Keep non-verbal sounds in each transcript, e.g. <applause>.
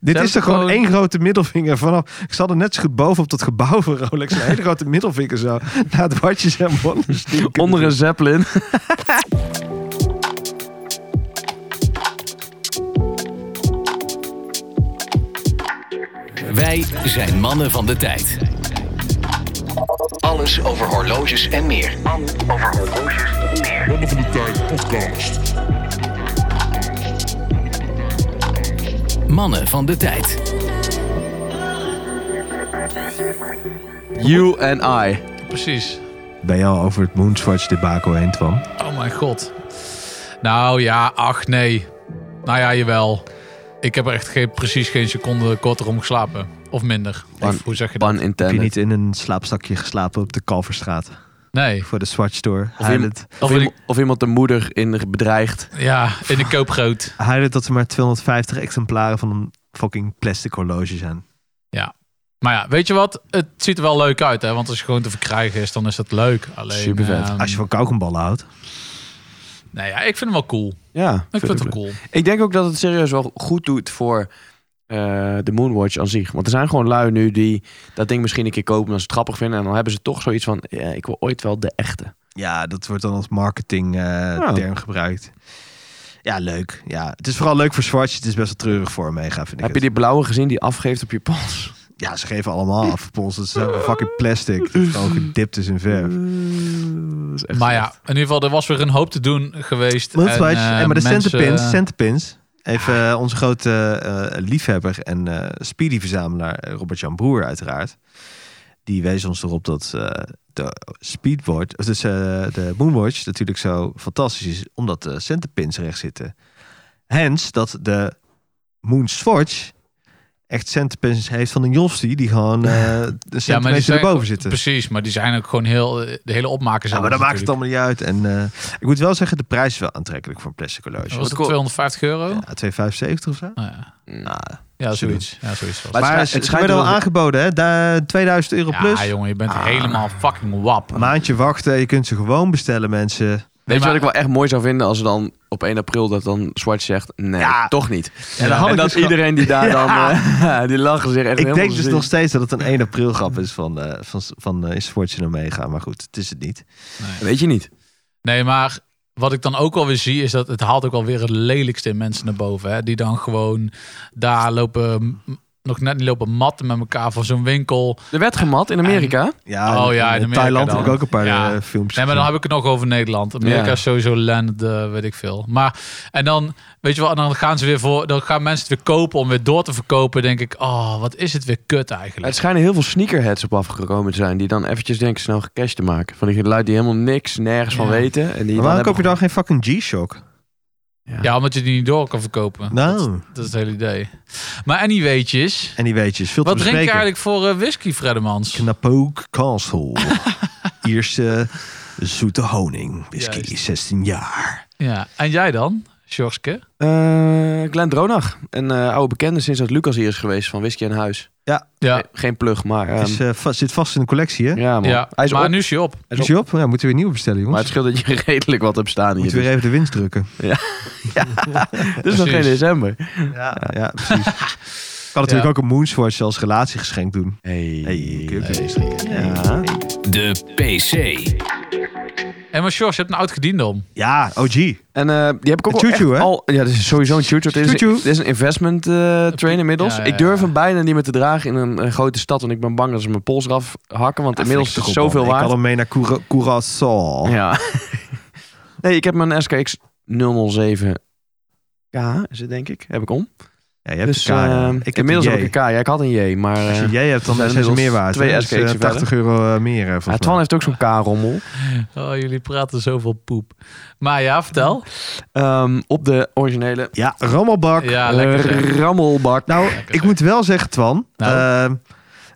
Dit Zelf is toch gewoon gewoon- één grote middelvinger vanaf. Ik zat er net zo goed bovenop dat gebouw van Rolex. Een hele grote middelvinger zo. <laughs> Naar het watjes en wonders. stinken. Onder een zeppelin. Wij zijn mannen van de tijd. Alles over horloges en meer. Mannen van de Tijd podcast. Mannen van de tijd. You and I. Precies. Ben je al over het Moonswatch debacle heen, Twan? Oh mijn god. Nou ja, ach nee. Nou ja, jawel. Ik heb er echt geen, precies geen seconde korter om geslapen. Of minder. Of hoe zeg je dat? Pun Heb je intended. niet in een slaapzakje geslapen op de Kalverstraat? Nee. Voor de Swatch Store. Of, iem- Huilend, of, Of in- iem- of iemand de moeder in bedreigt. Ja, in de koopgroot. huilend dat er maar 250 exemplaren van een fucking plastic horloge zijn. Maar ja, weet je wat? Het ziet er wel leuk uit, hè? Want als je gewoon te verkrijgen is, dan is dat leuk. Alleen, Supervet. ehm, Als je van kauwgomballen houdt. Nee, ja, ik vind hem wel cool. Ja. Ik vind hem cool. Ik denk ook dat het serieus wel goed doet voor eh, de Moonwatch aan zich. Want er zijn gewoon lui nu die dat ding misschien een keer kopen als ze het grappig vinden. En dan hebben ze toch zoiets van, ja, ik wil ooit wel de echte. Ja, dat wordt dan als marketingterm Ja. term gebruikt. Ja, leuk. Ja, het is vooral leuk voor Swatch. Het is best wel treurig voor Omega, vind ik Heb je die blauwe gezien die afgeeft op je pols? het. Ja, ze geven allemaal <laughs> af. Pols, het is helemaal fucking plastic. Het is gewoon gedipt is in verf. Dat is echt Maar ja, slecht. in ieder geval, er was weer een hoop te doen geweest. Moonswatch. eh, En, maar de mensen- centerpins, centerpins. Even eh, onze grote eh, liefhebber en eh, speedy-verzamelaar eh, Robert-Jan Broer uiteraard. Die wees ons erop dat eh, de Speedwatch, of dus eh, de Moonwatch natuurlijk zo fantastisch is. Omdat de centerpins recht zitten. Hence dat de Moonswatch echt centerpins heeft van een Jofstie. Die gewoon eh een die centimeter zijn erboven gewoon- zitten. Precies, maar die zijn ook gewoon heel... eh, De hele opmaak is Ja, maar dat anders maakt het natuurlijk. allemaal niet uit. En eh, ik moet wel zeggen, de prijs is wel aantrekkelijk voor een plastic horloge. Was het Wat 250 euro? Ja, 2,75 of zo. Nou ja. Nou, Ja, zoiets. Ja, zoiets was Maar maar het het, het, schijnt- het schijnt werd al wel- aangeboden, hè? Da- 2000 euro het. plus. Ja, jongen, je bent Ah. helemaal fucking wap. Een maandje wachten, je kunt ze gewoon bestellen, mensen. Weet je maar- wat ik wel echt mooi zou vinden als ze dan op 1 april dat dan Swatch zegt, nee, Ja. toch niet. En dan had en ik dat dus gewoon- iedereen die daar dan, <laughs> Ja. eh, <laughs> die lachen zich echt Ik helemaal denk dus ziek. nog steeds dat het een 1 april grap is van, eh van, van eh, is Sportje naar meegaan. Maar goed, het is het niet. Weet je niet. Nee, maar wat ik dan ook alweer zie is dat het haalt ook alweer het lelijkste in mensen naar boven. Hè? Die dan gewoon daar lopen, m- nog net niet lopen matten met elkaar van zo'n winkel. Er werd gemat in Amerika. Ja, Oh ja, in Amerika Thailand dan. heb ik ook een paar Ja. eh, filmpjes Nee, maar dan gezien. heb ik het nog over Nederland. Amerika Ja. is sowieso land, eh, weet ik veel. Maar, en dan, weet je wel, en dan gaan ze weer voor, dan gaan mensen het weer kopen om weer door te verkopen. denk ik, oh, wat is het weer kut Maar eigenlijk. Het schijnen heel veel sneakerheads op afgekomen te zijn. Die dan eventjes denken snel cash te maken. Van die luid die helemaal niks, nergens van Ja. weten. En die Maar waarom koop je dan geen fucking G-Shock? Ja, omdat je die niet door kan verkopen. Nou. Dat, dat is het hele idee. Maar anyweetjes, En die weet je, is veel te wat drink je bespreken. eigenlijk voor eh, whisky, Freddemans? Knapook Castle. <laughs> Ierse zoete honing. Whisky, Juist. 16 jaar. Ja, en jij dan, Sjorske? Eh, Glenn Dronach. Een eh, oude bekende sinds dat Lucas hier is geweest van Whisky en Huis. Ja, Eh, Geen plug, maar... ehm, Het is, eh, va- zit vast in de collectie, hè? ja, man. ja. Hij is maar op. nu is je op. is Is je op? Ja, moeten we weer nieuwe bestellen, Maar het jongens. scheelt dat je <laughs> redelijk wat hebt staan hier. Moeten we weer even de winst drukken. dus het is nog geen Precies. december. Ja, ja precies. <laughs> kan natuurlijk Ja. ook een Moonswatch als relatiegeschenk doen. Hey. Hey, kun je ook Nee. Ja. De PC. En maar Sjors, je hebt een oud gediende om. Ja, OG. En eh, die heb ik ook Een wel choo-choo, echt hè? al... Ja, dit is sowieso een choo-choo. Dit is, Choo-choo. dit is een investment eh, train inmiddels. ja, Ik ja, durf ja. hem bijna niet meer te dragen in een, een grote stad. Want ik ben bang dat ze mijn pols eraf hakken. Want inmiddels is Flikker het op, zoveel man. waard. Ik had hem mee naar Cura- Curaçao. Ja. <laughs> nee, ik heb mijn SKX 007 K, is het denk ik. Heb ik om. Ja, je hebt dus een K, ja. ehm, ik heb inmiddels een heb ik een K. Ja, ik had een J, maar... Als je eh, jij hebt, dan zijn zijn ze inmiddels meer waard. twee hè? Dat is, eh, SK's 80 euro eh, meer. eh, volgens ja, mij. Twan heeft ook zo'n K-rommel. Oh, jullie praten zoveel poep. Maar ja, vertel. Ehm, op de originele Ja, rammelbak. Ja, lekker zeg. eh, rammelbak. Nou, ik zeg. moet wel zeggen, Twan. Nou. ehm,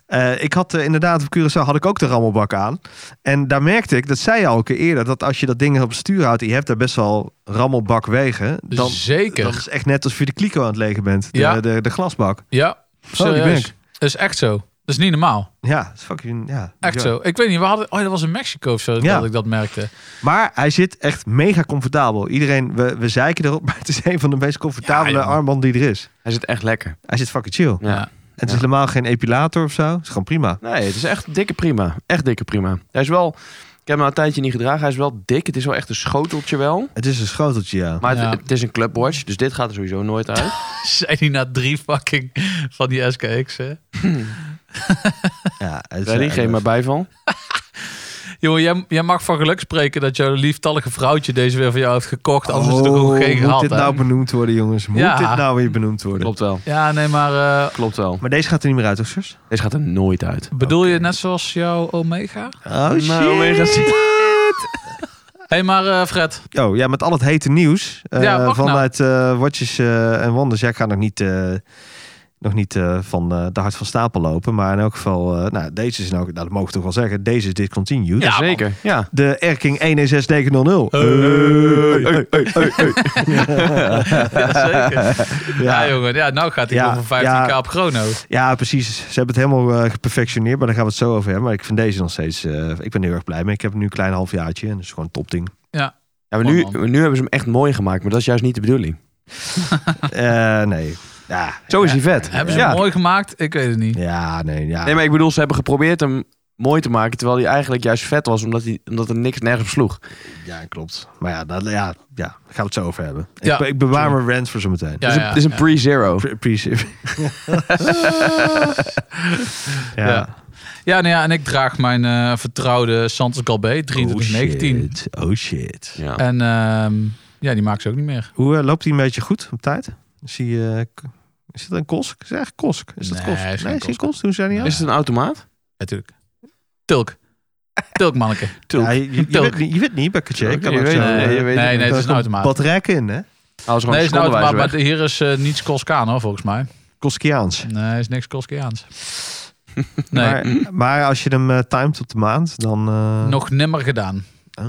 eh, ik had eh, inderdaad op Curaçao had ik ook de rammelbak aan. En daar merkte ik, dat zei je al een keer eerder, dat als je dat ding op het stuur houdt en je hebt daar best wel rammelbak wegen, dan, Dus Zeker. Dat is echt net alsof je de kliko aan het legen bent. De, Ja. de, de glasbak. ja, Oh, die ben serieus. ik. Dat is echt zo. Dat is niet normaal. Ja, dat is fucking... Ja, Echt bizar. zo. Ik weet niet, we hadden... Oh, dat was in Mexico of zo Ja. dat ik dat merkte. <laughs> Maar hij zit echt mega comfortabel. Iedereen, we, we zeiken erop, <laughs> maar het is een van de meest comfortabele Ja, joh. armbanden die er is. Hij zit echt lekker. Hij zit fucking chill. Ja. Ja. Het is helemaal geen epilator of zo. Het is gewoon prima. Nee, het is echt dikke prima. Echt dikke prima. Hij is wel... Ik heb hem al een tijdje niet gedragen. Hij is wel dik. Het is wel echt een schoteltje wel. Het is een schoteltje, ja. Maar Ja. het, het is een clubwatch, dus dit gaat er sowieso nooit <laughs> uit. Zijn die na drie fucking van die SKX, hè? ja, het is, Ready? eh, Geef maar bijval. Jongen, jij, jij mag van geluk spreken dat jouw lieftallige vrouwtje deze weer van jou heeft gekocht. Oh, Anders is er ook geen moet gehad, dit hè? nou benoemd worden, jongens? Moet Ja. dit nou weer benoemd worden? Klopt wel. Ja, nee, maar eh, Klopt wel. Maar deze gaat er niet meer uit, toch, zus? Deze gaat er nooit uit. bedoel je net zoals jouw Omega? Oh, shit. Nou, weer gezien. Hé, hey, maar eh, Fred. Oh, ja, met al het hete nieuws eh, Ja, wacht nou. vanuit eh Watches eh, en Wonders. Ja, ik ga nog niet, eh, nog niet eh, van eh, de hart van stapel lopen. Maar in elk geval, eh, nou, deze is nou, nou, dat mogen we toch wel zeggen. Deze is discontinued. Ja, Eh, Zeker. Ja. De E Erking 116900. Ja, zeker. Ja, Ja, jongen. Ja, nou gaat hij Ja, over 15k ja. op chrono. ja, precies. Ze hebben het helemaal eh, geperfectioneerd, maar daar gaan we het zo over hebben. Maar ik vind deze nog steeds, eh, ik ben er heel erg blij mee. Ik heb nu een klein halfjaartje en dat is gewoon een topding. Ja, maar nu, nu hebben ze hem echt mooi gemaakt, maar dat is juist niet de bedoeling. Eh, nee. Ja, Zo is hij vet. Hebben ze ja. hem mooi gemaakt? Ik weet het niet. ja, nee, ja. Nee, maar ik bedoel, ze hebben geprobeerd hem mooi te maken, terwijl hij eigenlijk juist vet was, omdat, hij, omdat er niks nergens op sloeg. Ja, klopt. Maar ja, dat, ja, ja, daar gaan we het zo over hebben. Ja. Ik, be- ik bewaar mijn rant voor zometeen. Dus Ja, dus ja, het is een ja. pre-zero. Pre- pre- ja. <laughs> Ja. Ja, nou ja, en ik draag mijn eh, vertrouwde Santos Galbé, 2319. Oh shit. Oh shit. Ja. en ehm, ja, die maakt ze ook niet meer. Hoe eh, loopt hij een beetje goed op tijd? Zie je, eh, k- is dat een kosk? Is het echt kosk? Is dat Nee, kosk? hij is nee, geen is geen kosk. kosk. Toen zei hij niet Is het een automaat? Natuurlijk. Tulk. Tulk, <laughs> manneke. aan. Ja, je, je, Tulk. weet, niet- je weet niet, Bekkertje. Ik kan Je ook weet zo, het, eh, je nee, weet het nee, nee, niet. het is een kan automaat. Wat rekken in, hè? Hij was gewoon Nee, het nee, is een automaat, weg. maar hier is eh, niets Koskaan, hoor, volgens mij. Koskiaans. Nee, is niks <laughs> Koskiaans. Maar, Nee, maar als je hem eh, timet op de maand, dan... eh, nog nimmer gedaan. Oh,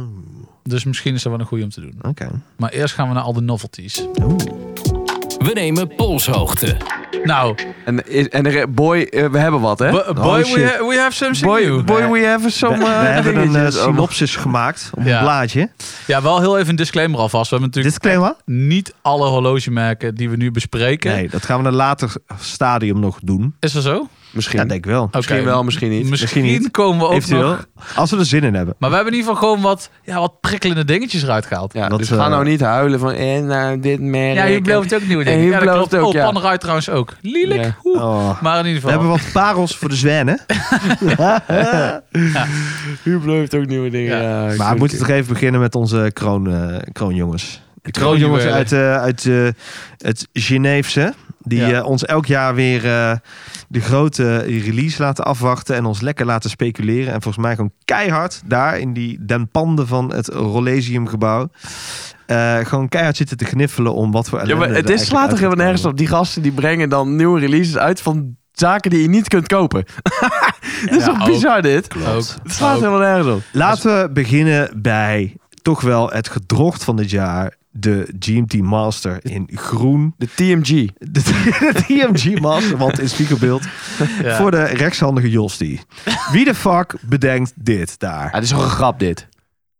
Dus misschien is dat wel een goeie om te doen. Oké. Maar eerst gaan we naar al de novelties. We nemen polshoogte. Nou, En, is- en er- boy, eh, we hebben wat, hè? bo- boy, Oh, shit. we, ha- we have something boy, new. boy, we have some We, we eh, hebben een eh, dingetjes. Oh, synopsis gemaakt op Ja. een blaadje. Ja, wel heel even een disclaimer alvast. We hebben natuurlijk Disclaimer? niet alle horlogemerken die we nu bespreken. Nee, dat gaan we in een later stadium nog doen. Is dat zo? Misschien. Ja, denk ik wel. Oké. Misschien wel, misschien niet. Misschien, Misschien niet. komen we ook Eventueel. nog... Als we er zin in hebben. Maar we hebben in ieder geval gewoon wat, ja, wat prikkelende dingetjes eruit gehaald. Ja, Dat, dus eh, ga nou niet huilen van, en nou, dit merk. Ja, <laughs> je belooft <laughs> ook nieuwe En dingen. je Ja, dat belooft klopt. ook, oh, ja. Panerai trouwens ook. Lelijk. Ja. Oeh. Oh. Maar in ieder We geval. hebben wat parels voor de <laughs> <laughs> zwijnen. U belooft ook nieuwe dingen. Ja. Ja, maar we goed. moeten toch even beginnen met onze kroon, eh, kroonjongens. De kroonjongens kroonjuwelen. uit, eh, uit eh, het Geneefse. Die Ja. eh, ons elk jaar weer eh, de grote release laten afwachten. En ons lekker laten speculeren. En volgens mij gewoon keihard daar in die den panden van het Rollesium gebouw. eh, gewoon keihard zitten te gniffelen om wat voor Ja, maar ellende het er is, slaat eigenlijk toch helemaal uit nergens gaat op. Die gasten die brengen dan nieuwe releases uit van zaken die je niet kunt kopen. <laughs> Dit is ook. nou, toch bizar dit? Ook. Het slaat Ook. helemaal nergens op. Laten we beginnen bij toch wel het gedrocht van dit jaar. De GMT Master in groen. De TMG. De, <laughs> de TMG Master, want in spiegelbeeld. Ja. Voor de rechtshandige Jostie. Wie de fuck bedenkt dit daar? het is toch een grap dit?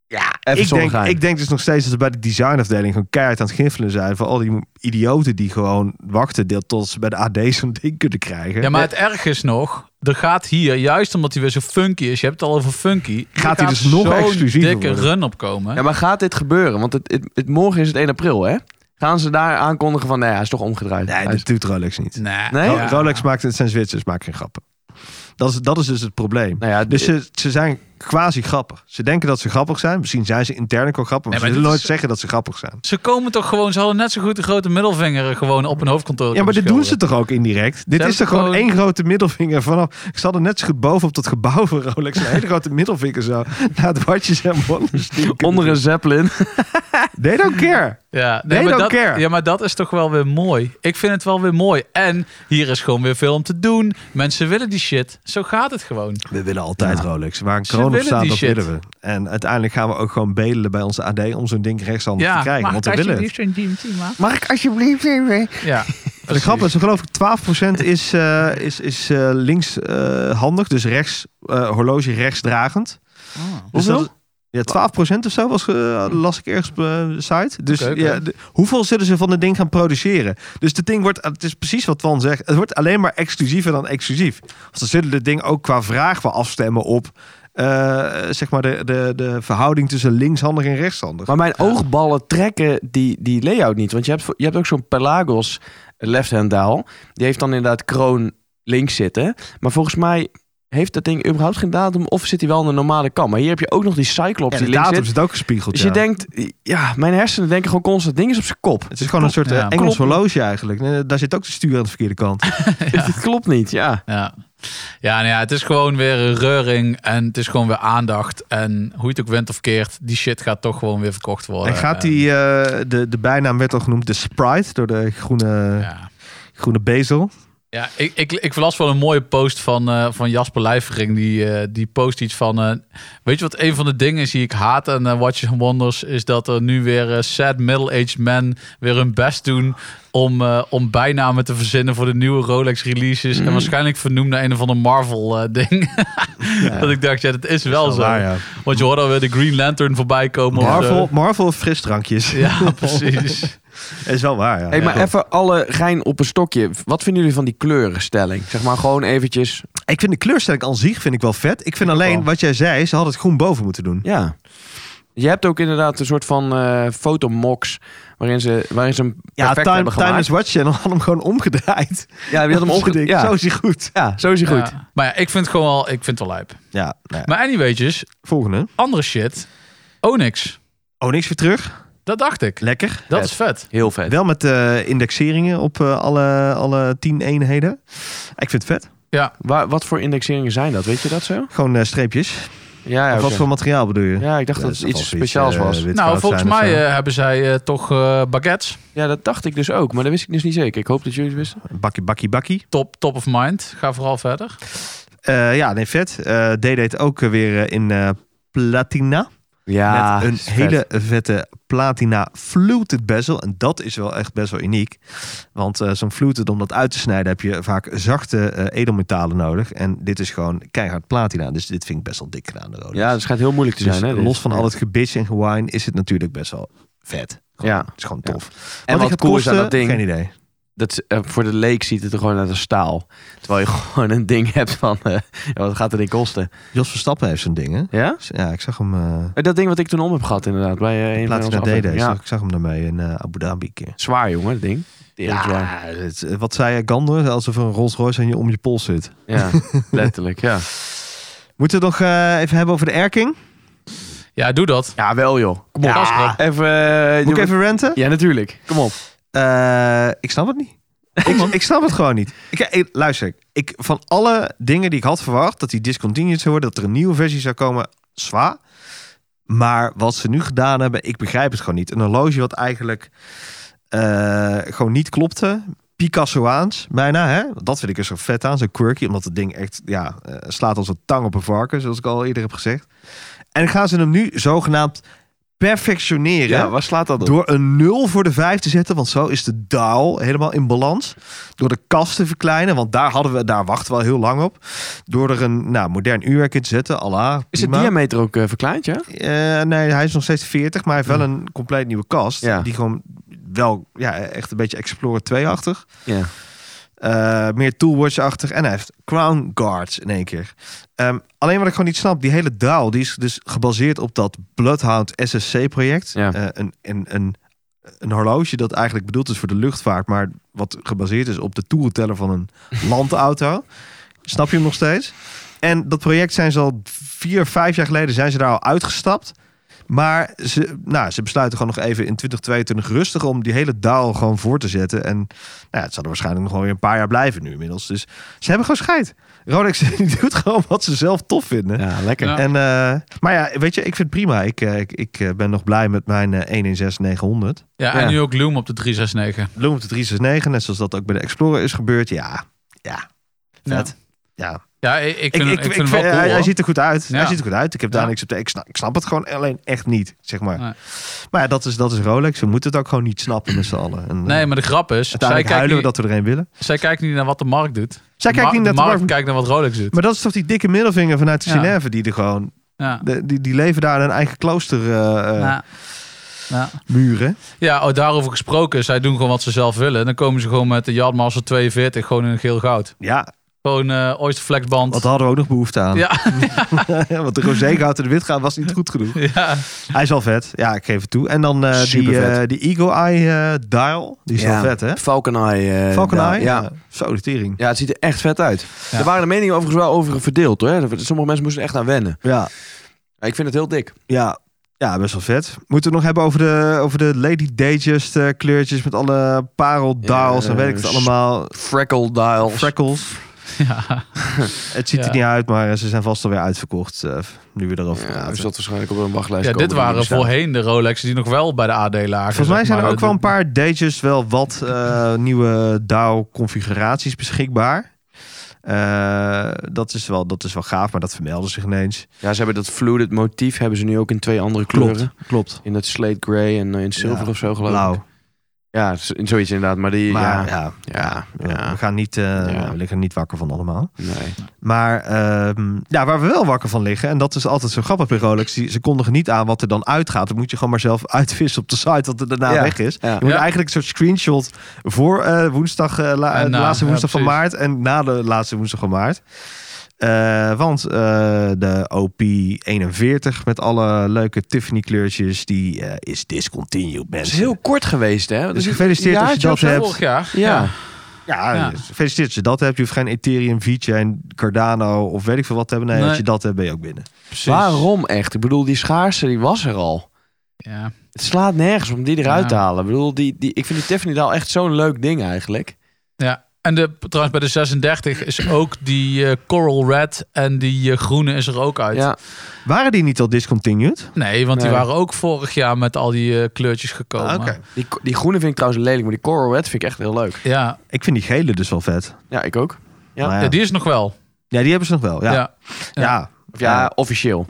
Ja, even Ik zo denk, gaan. ik denk dus nog steeds dat ze bij de designafdeling gewoon keihard aan het giffelen zijn. Voor al die idioten die gewoon wachten deel tot ze bij de AD zo'n ding kunnen krijgen. Ja, maar het erg is nog, er gaat hier, juist omdat hij weer zo funky is, je hebt het al over funky, er hij dus nog zo'n exclusiever dikke worden. run opkomen. Ja, maar gaat dit gebeuren? Want het, het, het- morgen is het 1 april, hè? Gaan ze daar aankondigen van, nee, hij is toch omgedraaid. Nee, Hij is- dat doet Rolex niet. Nee, Nee? Ro- ja. Rolex maakt het zijn Zwitsers, maken geen grappen. Dat is, dat is dus het probleem. Nou ja, Dus dit- ze, ze zijn quasi grappig. Ze denken dat ze grappig zijn. Misschien zijn ze intern ook wel grappig. Maar Nee, ze maar zullen nooit dit is- zeggen dat ze grappig zijn. Ze komen toch gewoon, ze hadden net zo goed de grote middelvinger gewoon op een hoofdkantoor. Ja, maar dit kunnen doen ze schilderen. toch ook indirect? Dit Ze is toch hebben gewoon één grote middelvinger vanaf... Ik zat er net zo goed bovenop dat gebouw van Rolex. Een hele grote middelvinger zo. <laughs> Naar het watjes en wonders. Onder een Zeppelin. They don't care. Ja, They maar don't dat, care. ja, maar dat is toch wel weer mooi. Ik vind het wel weer mooi. En hier is gewoon weer veel om te doen. Mensen willen die shit. Zo gaat het gewoon. We willen altijd Rolex. Waar een kroon op willen staat, die dat shit. willen we. En uiteindelijk gaan we ook gewoon bedelen bij onze AD... om zo'n ding rechtshandig Ja, te krijgen. mag Want ik we willen het. alsjeblieft een GMT, maar. <laughs> Mag ik alsjeblieft even... Ja, De grap is, geloof ik, 12% is, eh, is, is eh, links linkshandig. dus rechts, eh, horloge rechtsdragend. Ah. Dus Hoeveel? dat- ja, 12% of zo was, eh, las ik ergens op eh, de site. Dus Oké, oké. Ja, de- hoeveel zullen ze van het ding gaan produceren? Dus het ding wordt, het is precies wat Twan zegt, het wordt alleen maar exclusiever dan exclusief. Want ze zullen het ding ook qua vraag wel afstemmen op eh, zeg maar de, de, de verhouding tussen linkshandig en rechtshandig. <laughs> Maar mijn oogballen trekken die, die layout niet. Want je hebt, voor- je hebt ook zo'n Pelagos left-hand dial. Die heeft dan inderdaad kroon links zitten. Maar volgens mij heeft dat ding überhaupt geen datum. Of zit hij wel in de normale kam. Maar hier heb je ook nog die Cyclops Ja, de die links datum zit. zit ook gespiegeld. Dus ja. je denkt, ja, mijn hersenen denken gewoon constant. <laughs> Het ding is op zijn kop. het is gewoon een soort eh, Ja. Engels Klopt. Oh, horloge eigenlijk. Eh, Daar zit ook de stuur aan de verkeerde kant. Dit klopt niet, ja. Ja. Ja, nou ja, het is gewoon weer een reuring en het is gewoon weer aandacht. En hoe je het ook went of keert, die shit gaat toch gewoon weer verkocht worden. En gaat die, eh, de, de bijnaam werd al genoemd, de Sprite, door de groene, Ja, groene bezel. ja ik, ik, ik las wel een mooie post van, eh, van Jasper Lijvering. Die, eh, die post iets van... eh, weet je wat een van de dingen is die ik haat aan eh, Watches and Wonders... is dat er nu weer eh, sad middle-aged men weer hun best doen... Om, eh, om bijnamen te verzinnen voor de nieuwe Rolex releases. En waarschijnlijk vernoemd naar een of ander Marvel eh, <laughs> ding. dat ik dacht, ja, dat is wel zo. Waar, ja. Want je hoort alweer de Green Lantern voorbij eh, komen. of Marvel, zo. Marvel of frisdrankjes. <laughs> <laughs> Ja, precies. Is wel waar, ja. Hey, maar Ja. even alle gein op een stokje. Wat vinden jullie van die kleurenstelling? Zeg maar gewoon eventjes, Ik vind de kleurstelling aan zich vind ik wel vet. Ik vind alleen wel. wat jij zei, ze hadden het groen boven moeten doen. ja. Je hebt ook inderdaad een soort van eh fotomox waarin ze, waarin ze hem Ja, perfect Time, hebben time gemaakt. is Watch Channel had hem gewoon omgedraaid. Ja, die had <laughs> hem omgedikt. Omgedikt. Ja. Zo is hij goed. ja, zo is hij goed. Ja. Maar ja, ik vind het gewoon al, ik vind het wel lijp. Ja, nou ja. Maar anyways, dus, volgende. andere shit. Onyx. Oh, niks weer terug. Dat dacht ik. Lekker. Dat Vet. is vet. Heel vet. Wel met eh, indexeringen op eh, alle, alle tien eenheden. Ik vind het vet. Waar, wat voor indexeringen zijn dat? Weet je dat zo? Gewoon eh, streepjes. Ja, ja, of wat oké. voor materiaal bedoel je? ja ik dacht Ja, dat dus het iets als speciaals eh, was. wit Nou, goud volgens zijn dus, of mij zo. eh, hebben zij eh, toch eh, baguettes. Ja, dat dacht ik dus ook. Maar dat wist ik dus niet zeker. Ik hoop dat jullie het wisten. eh, Bakkie, bakkie, bakkie. Top, top of mind. Ga vooral verder. Eh, ja, nee, vet. Eh D deed het ook eh, weer eh, in eh, platina. Ja, met een hele vette platina fluted bezel. En dat is wel echt best wel uniek. Want eh, zo'n fluted, om dat uit te snijden, heb je vaak zachte eh, edelmetalen nodig. En dit is gewoon keihard platina. Dus dit vind ik best wel dik gedaan. De Rolex. Ja, dat schijnt heel moeilijk te Dus zijn. Hè, dit. los van al het gebitch en gewine is het natuurlijk best wel vet. Gewoon, Ja. Het is gewoon Ja. tof. En die wat gaat cool is aan kosten? dat ding. Geen idee. dat, is, eh, voor de leek ziet het er gewoon uit als staal. Terwijl je <laughs> gewoon een ding hebt van... eh, ja, wat gaat het ding kosten? Jos Verstappen heeft zo'n ding, hè? Dus Ja? Ja, ik zag hem... eh Eh, Dat ding wat ik toen om heb gehad inderdaad. Bij, eh, een van onze platina D deed. afleveringen. Ja. Ik zag hem daarmee in eh, Abu Dhabi een keer. Zwaar jongen, dat ding. Tering zwaar. Ja, het, eh, wat zei Gander? Alsof een Rolls Royce aan je om je pols zit. Ja, letterlijk. Ja. Moeten we het nog eh, even hebben over de erking? Ja, doe dat. ja, wel joh. Kom op. Ja. Even, eh, Moet doe- ik even renten? Ja, natuurlijk. Kom op. Eh, ik snap het niet. ik, ik snap het gewoon niet. Ik, eh, ik- luister, ik, van alle dingen die ik had verwacht... dat die discontinued zou worden, dat er een nieuwe versie zou komen... zwaar. Maar wat ze nu gedaan hebben, ik begrijp het gewoon niet. Een horloge wat eigenlijk eh, gewoon niet klopte... Picassoaans, bijna, hè? Want Dat vind ik er zo vet aan, zo quirky. Omdat het ding echt, ja, eh, slaat als een tang op een varken... zoals ik al eerder heb gezegd. En gaan ze hem nu zogenaamd perfectioneren... Ja, waar slaat dat op? Door een 0 voor de 5 te zetten, want zo is de daal helemaal in balans. Door de kast te verkleinen, want daar, hadden we, daar wachten we al heel lang op. Door er een nou, modern uurwerk in te zetten, Allah. Is de diameter ook eh, verkleind, ja? nee, hij is nog steeds 40, maar hij heeft wel een compleet nieuwe kast. Ja. Die gewoon wel ja, echt een beetje Explorer 2-achtig. Ja. Eh, meer Toolwatch-achtig. En hij heeft Crown Guards in één keer. Ehm, alleen wat ik gewoon niet snap, die hele DAO... die is dus gebaseerd op dat Bloodhound SSC-project. Ja. Eh, een, een, een, een horloge dat eigenlijk bedoeld is voor de luchtvaart... maar wat gebaseerd is op de toerenteller van een <laughs> landauto. Snap je hem nog steeds? En dat project zijn ze al vier, vijf jaar geleden zijn ze daar al uitgestapt. Maar ze, nou, ze besluiten gewoon nog even in 2022 rustig om die hele daal gewoon voor te zetten. En nou ja, het zal er waarschijnlijk nog wel weer een paar jaar blijven nu inmiddels. Dus ze hebben gewoon scheid. Rolex <laughs> die doet gewoon wat ze zelf tof vinden. Ja, lekker. Ja. En, eh, maar ja, weet je, ik vind het prima. Ik, eh, ik, ik eh, ben nog blij met mijn eh, 1 in 6 900. Ja, en Ja. nu ook Loom op de 369. Loom op de 369, net zoals dat ook bij de Explorer is gebeurd. Ja, ja, vet. Ja, Ja, ik, ik vind, ik, ik, ik, vind ik het wel vind- cool. hij, hij hoor. ziet er goed uit. Hij Ja. ziet er goed uit. Ik heb daar Ja. niks op te... Ik snap, ik snap het gewoon alleen echt niet, zeg maar. Nee. Maar ja, dat is, dat is Rolex. We moeten het ook gewoon niet snappen met z'n allen. En, Nee, eh, maar de grap is, zij uiteindelijk kijkt, huilen niet, we dat we er een willen. zij kijkt niet naar wat de markt doet. Zij De kijkt mar- niet naar de markt. kijkt naar wat Rolex doet. Maar dat is toch die dikke middelvinger vanuit de Ja. Genève die er gewoon... Ja. de- die, die leven daar in hun eigen kloostermuren. eh Ja. Ja. muren. Ja, oh, daarover gesproken. Zij doen gewoon wat ze zelf willen. En dan komen ze gewoon met de Yardmaster 42 gewoon in geel goud. Ja, Gewoon eh oysterflexband. wat hadden we ook nog behoefte aan. Ja, <laughs> Want de roségoud en de witgaan was niet goed genoeg. <laughs> ja. Hij is wel vet. Ja, ik geef het toe. En dan eh, die, Supervet. eh, die Eagle Eye eh, dial. Die is Ja. wel vet, hè? Falcon Eye. eh, Falcon daar. Eye? Ja. Zo, de tering. ja, het ziet er echt vet uit. Ja. Er waren de meningen overigens wel over verdeeld. Hoor. Sommige mensen moesten er echt aan wennen. Ja, Maar ik vind het heel dik. ja. Ja, best wel vet. Moeten we het nog hebben over de, over de Lady Dayjust eh, kleurtjes met alle parel dials en weet ik het eh, allemaal. Freckle dials. <laughs> Freckles. ja. <laughs> Het ziet Ja. er niet uit, maar eh, ze zijn vast alweer uitverkocht. eh, nu we erover Ja, praten. dus dat waarschijnlijk op een wachtlijst komen dit die waren niet staan. voorheen de Rolex die nog wel bij de AD lagen. Volgens mij zeg zijn er maar. ook wel een paar dages wel wat eh, nieuwe DAO-configuraties beschikbaar. Eh, dat, is wel, dat is wel gaaf, maar dat vermelden zich ineens. Ja, ze hebben dat fluted motief hebben ze nu ook in twee andere kleuren. klopt. In dat slate grey en eh, in zilver Ja, of zo geloof ik. Blauw. Ja, z- in zoiets inderdaad. Maar die, Maar ja, ja, ja, we- ja, we gaan niet, eh, Ja. we liggen er niet wakker van allemaal. nee. Maar ehm, ja, waar we wel wakker van liggen, en dat is altijd zo grappig bij Rolex, die- ze kondigen niet aan wat er dan uitgaat. Dat moet je gewoon maar zelf <laughs> uitvissen op de site wat er daarna Ja. weg is. Ja. Je moet Ja. eigenlijk een soort screenshot voor eh, woensdag, eh, la- En de na, laatste ja, woensdag van precies. maart en na de laatste woensdag van maart. Eh, want eh, de OP41 met alle leuke Tiffany kleurtjes, die eh, is discontinued, Het mensen. is heel kort geweest, hè? Dat Dus is- gefeliciteerd als je jaartje dat of zo. hebt. Vorig jaar. Ja. Ja, Ja. gefeliciteerd als je dat hebt. Je hoeft geen Ethereum, VeChain, Cardano of weet ik veel wat te hebben. Nee, Nee. als je dat hebt ben je ook binnen. precies. Waarom echt? Ik bedoel, die schaarste die was er al. Ja. Het slaat nergens om die eruit Ja. te halen. Ik bedoel, die, die, ik vind die Tiffany Daal echt zo'n leuk ding eigenlijk. ja. En de, trouwens, bij de 36 is ook die eh, Coral Red en die eh, groene is er ook uit. Ja, Waren die niet al discontinued? Nee, want die Nee. waren ook vorig jaar met al die eh, kleurtjes gekomen. Ah, Oké. die, die groene vind ik trouwens lelijk, maar die Coral Red vind ik echt heel leuk. Ja. Ik vind die gele dus wel vet. Ja, ik ook. Ja. Maar ja. ja, die is nog wel. ja, die hebben ze nog wel. Ja, ja. Ja. ja. Of ja, officieel.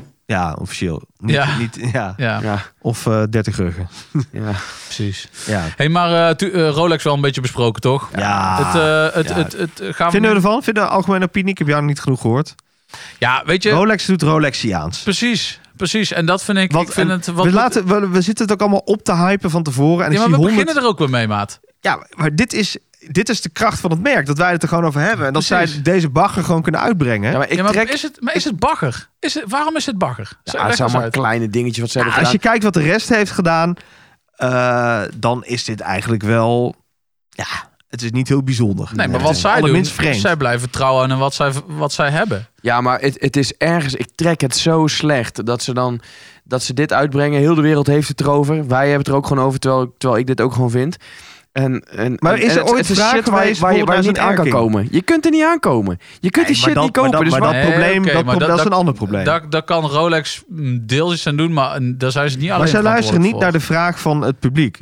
officieel. Niet, Ja. Niet, ja. Ja, Ja, Of eh 30 ruggen. ja. precies. Ja. hey, maar eh, tu- eh, Rolex wel een beetje besproken, toch? Ja. Het, eh, het, Ja. het, het, eh, gaan we Vinden we nu- ervan? Vinden we de algemene opinie? Ik heb jou nog niet genoeg gehoord. Ja, weet je, Rolex doet Rolexiaans. precies. Precies. En dat vind ik. Want, ik vind en het, wat we, laten, we, we zitten het ook allemaal op te hypen van tevoren. En ik ja, maar zie we 100 beginnen er ook weer mee, maat. Ja, maar dit is, dit is de kracht van het merk. Dat wij het er gewoon over hebben. En dat Precies. zij deze bagger gewoon kunnen uitbrengen. Ja, maar ik ja, maar, trek... is het, maar is het bagger? Is het, waarom is het bagger? Zeg- Ja, het leg zijn eens maar uit. kleine dingetjes wat ze Ja, hebben Nou, als je gedaan. kijkt wat de rest heeft gedaan, eh, dan is dit eigenlijk wel... Ja, het is niet heel bijzonder. Nee, maar Het wat is zij doen, allerminst vreemd. zij blijven trouw aan wat zij, wat zij hebben. Ja, maar het, het is ergens... Ik trek het zo slecht dat ze dan... Dat ze dit uitbrengen. Heel de wereld heeft het erover. Wij hebben het er ook gewoon over, terwijl, terwijl ik dit ook gewoon vind. En, en, Maar en- is er en het- ooit het is vraag shit waar, je- geweest, waar je, Paul, waar je daar niet is aan een kan erking. komen? Je kunt er niet aankomen. Je kunt die Nee, maar shit dat- niet maar kopen. dat- maar dus waar- dat- probleem- oké, dat maar pro- dat is een ander probleem. Daar, daar kan Rolex mm, deeltjes aan doen, maar mm, daar zijn ze niet alleen Maar zij luisteren niet naar verantwoordelijk de vraag van het publiek.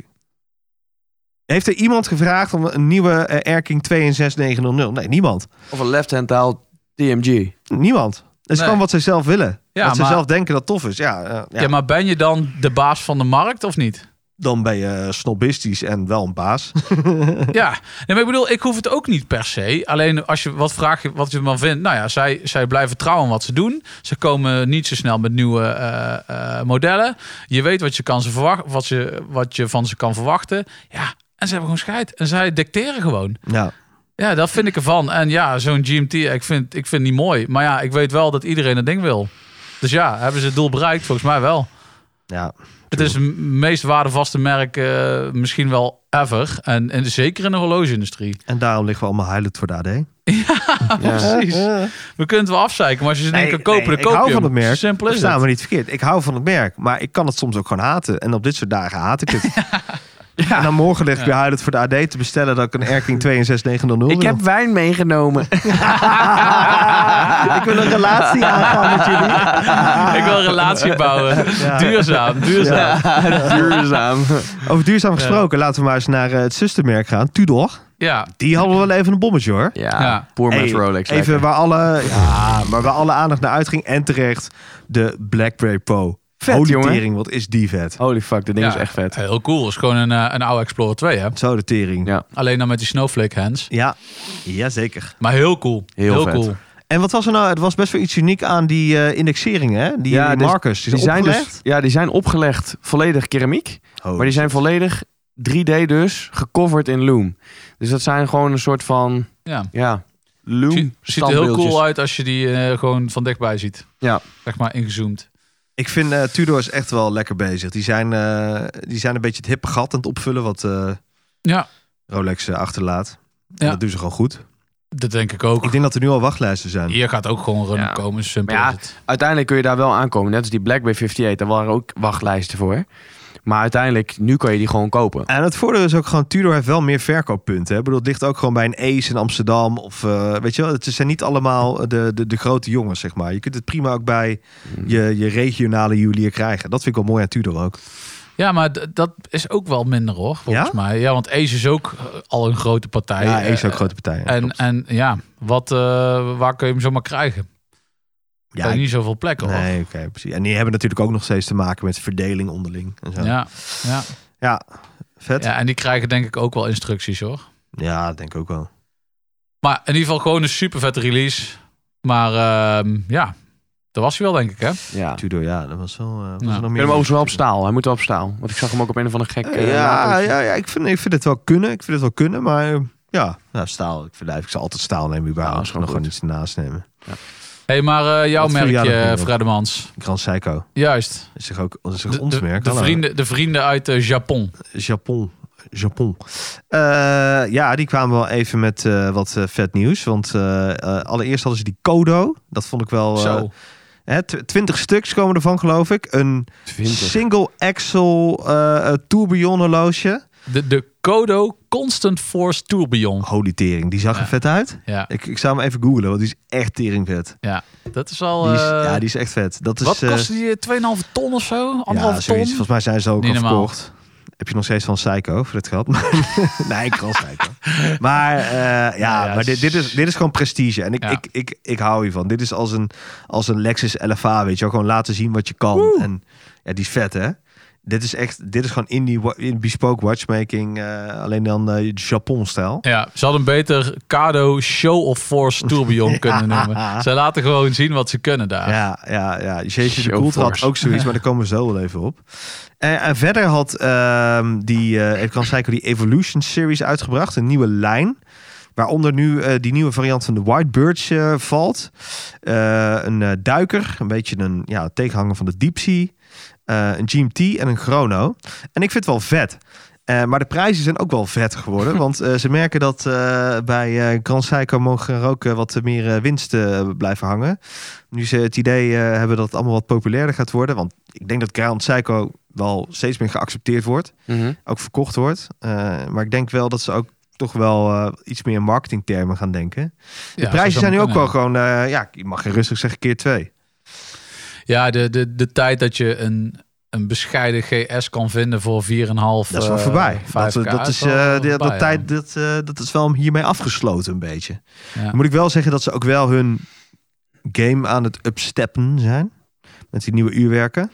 Heeft er iemand gevraagd om een nieuwe eh, Erking 26900? Nee, niemand. Of een left-hand taal TMG. Niemand. Het is Nee. gewoon wat zij zelf willen. Ja, wat ze maar- zelf denken dat tof is. Ja, eh, ja. voor. Ja, maar ben je dan de baas van de markt of niet? Dan ben je snobistisch en wel een baas. <laughs> Ja, nee, maar ik bedoel, ik hoef het ook niet per se. Alleen als je wat vraag je wat je ervan vindt. Nou ja, zij, zij blijven trouw aan wat ze doen. Ze komen niet zo snel met nieuwe eh, eh, modellen. Je weet wat je, kan ze verwacht, wat, je, wat je van ze kan verwachten. Ja, en ze hebben gewoon scheid. En zij dicteren gewoon. ja. Ja, dat vind ik ervan. En ja, zo'n GMT, ik vind, ik vind die mooi. Maar ja, ik weet wel dat iedereen dat ding wil. Dus ja, hebben ze het doel bereikt? Volgens mij wel. ja. Het is het meest waardevaste merk eh, misschien wel ever. En, en zeker in de horlogeindustrie. En daarom liggen we allemaal huilend voor <laughs> de AD. Ja. Precies. We kunnen het wel afzeiken, maar als je ze denkt kan kopen, dan ik koop hou je van hem. het merk. Simpel is Verstaan het. me niet verkeerd. Ik hou van het merk, maar ik kan het soms ook gewoon haten. En op dit soort dagen haat ik <laughs> het. En dan morgen lig ik weer huilend voor de AD te bestellen dat ik een Erking 62900 Ik heb wijn meegenomen. <laughs> ik wil een relatie aangaan met jullie. Ik wil een <laughs> relatie bouwen. Ah. Ja. Duurzaam, duurzaam. <laughs> Duurzaam. Over duurzaam gesproken, laten we maar eens naar eh, het zustermerk gaan. Tudor. Ja. Die hadden wel even een bommetje hoor. Ja, Ja. poor man's Hey, Rolex. Even lekker. waar alle, ja, maar waar alle aandacht naar uitging. En terecht de BlackBerry Pro. Vet, Holy jongen. tering, wat is die vet. Holy fuck, dit ding Ja, is echt vet. Heel cool. is gewoon een, eh, een oude Explorer 2, hè? Zo de tering. Ja. Ja. Alleen dan met die snowflake hands. ja, jazeker. Maar heel cool. Heel vet. cool. En wat was er nou? Het was best wel iets uniek aan die eh, indexeringen, hè? Die, Ja, die dus- markers. Die, Die zijn opgelegd. dus, ja, die zijn opgelegd volledig keramiek. Oh, Maar die zijn volledig 3D dus, gecoverd in Loom. Dus dat zijn gewoon een soort van, Ja. ja, Zie- Loom ziet er heel standbeeldjes. cool uit als je die eh, gewoon van dichtbij ziet. Ja. Zeg maar ingezoomd. Ik vind eh, Tudor is echt wel lekker bezig. Die zijn, eh, die zijn een beetje het hippe gat aan het opvullen wat eh, Ja, Rolex eh, achterlaat. En Ja. dat doen ze gewoon goed. dat denk ik ook. Ik denk dat er nu al wachtlijsten zijn. Hier gaat ook gewoon run Ja. komen, simpel Maar ja, is het. Uiteindelijk kun je daar wel aankomen. Net als die BlackBerry 58, daar waren ook wachtlijsten voor. Maar uiteindelijk, nu kan je die gewoon kopen. En het voordeel is ook gewoon, Tudor heeft wel meer verkooppunten. Hè? Ik bedoel, het ligt ook gewoon bij een Ace in Amsterdam. Of eh, weet je wel, het zijn niet allemaal de, de, de grote jongens, zeg maar. Je kunt het prima ook bij Mm. je, je regionale juwelier krijgen. Dat vind ik wel mooi aan Tudor ook. Ja, maar d- dat is ook wel minder hoor, volgens Ja? mij. Ja, want Ace is ook eh, al een grote partij. Ja, Ace Eh, ook grote partijen. En, klopt. en ja, wat, eh, waar kun je hem zomaar krijgen? Ja, ja, ik- niet zoveel plekken hoor. nee, oké, precies. En die hebben natuurlijk ook nog steeds te maken met verdeling onderling. En zo. Ja. Ja, ja. vet. Ja. ja, en die krijgen denk ik ook wel instructies hoor. denk ik ook wel. Maar in ieder geval gewoon een super vette release. Maar ehm, ja, dat was hij wel denk ik hè. Ja. Ik Tudor, ja, dat was wel. eh, was Ja. er nog vind meer hem overigens wel op staal. Hij moet wel op staal. Want ik zag hem ook op een of andere gek... eh, ja, later. ja, ja ik, vind, ik vind het wel kunnen. Ik vind het wel kunnen, maar eh, ja, nou, staal. Ik, vind, eigenlijk- ik zal altijd staal nemen, überhaupt. Ja, ik is zal gewoon nog gewoon iets naast nemen. hey, maar eh, jouw Wat viel jou nog meer merkje, op? Fredemans. Grand Seiko. Juist. Dat is toch ook dat is toch De, ons de- merk? de Hallo. vrienden, de vrienden uit eh, Japon. Japon. Japon. Eh, ja, die kwamen wel even met eh, wat eh, vet nieuws. Want eh, eh, allereerst hadden ze die Kodo. Dat vond ik wel... eh, Zo. hè, tw- 20 stuks komen ervan, geloof ik. Een 20. single axle eh eh, tourbillon horloge. De, de Kodo Constant Force Tourbillon. Holy tering, die zag er Ja. vet uit. Ja, Ik, ik zou hem even googlen, want die is echt teringvet. dat is al... Die is, eh, ja, die is echt vet. Dat is, wat eh, kostte die? eh, 2,5 ton of zo? ja, Anderhalf zoiets. ton? Volgens mij zijn ze ook Niet al normaal. verkocht. Heb je nog steeds van Psycho voor dit geld? <laughs> nee, ik was <laughs> Psycho. Maar eh, ja, Nou ja, maar dit, dit, is, dit is gewoon prestige. En ik, Ja. ik, ik, ik hou hiervan. Dit is als een, als een Lexus LFA, weet je wel. Gewoon laten zien wat je kan. En ja, die is vet, hè? Dit is echt, dit is gewoon in die wa- in bespoke watchmaking. eh, alleen dan eh Japon-stijl. Ja, ze hadden beter Kado Show of Force <laughs> Tourbillon kunnen noemen. Ze laten gewoon zien wat ze kunnen daar. Ja, ja, ja. Jeetje, de Show Coulter had force. ook zoiets, maar daar komen we zo wel even op. En, en verder had ehm, die, eh ik kan zeggen, die Evolution Series uitgebracht. Een nieuwe lijn. Waaronder nu eh, die nieuwe variant van de White Birch eh, valt. Eh, een eh, duiker, een beetje een ja, tegenhanger van de Deep Sea. Eh, een GMT en een Chrono. En ik vind het wel vet. Eh, maar de prijzen zijn ook wel vet geworden. Want eh, ze merken dat eh, bij eh Grand Seiko mogen er ook eh, wat meer eh, winsten blijven hangen. Nu ze het idee eh, hebben dat het allemaal wat populairder gaat worden. Want ik denk dat Grand Seiko wel steeds meer geaccepteerd wordt. Mhm. Ook verkocht wordt. Eh, maar ik denk wel dat ze ook toch wel eh, iets meer in marketingtermen gaan denken. De Ja, prijzen zo zijn nu zou ook wel kunnen. gewoon... eh, ja, je mag rustig zeggen keer twee. Ja, de, de, de tijd dat je een, een bescheiden GS kan vinden voor 4,5. Dat is wel eh, voorbij. Dat, dat, is, eh, de- dat, tijd, dat, eh, dat is wel hiermee afgesloten een beetje. Dan moet ik wel zeggen dat ze ook wel hun game aan het upsteppen zijn. Met die nieuwe uurwerken.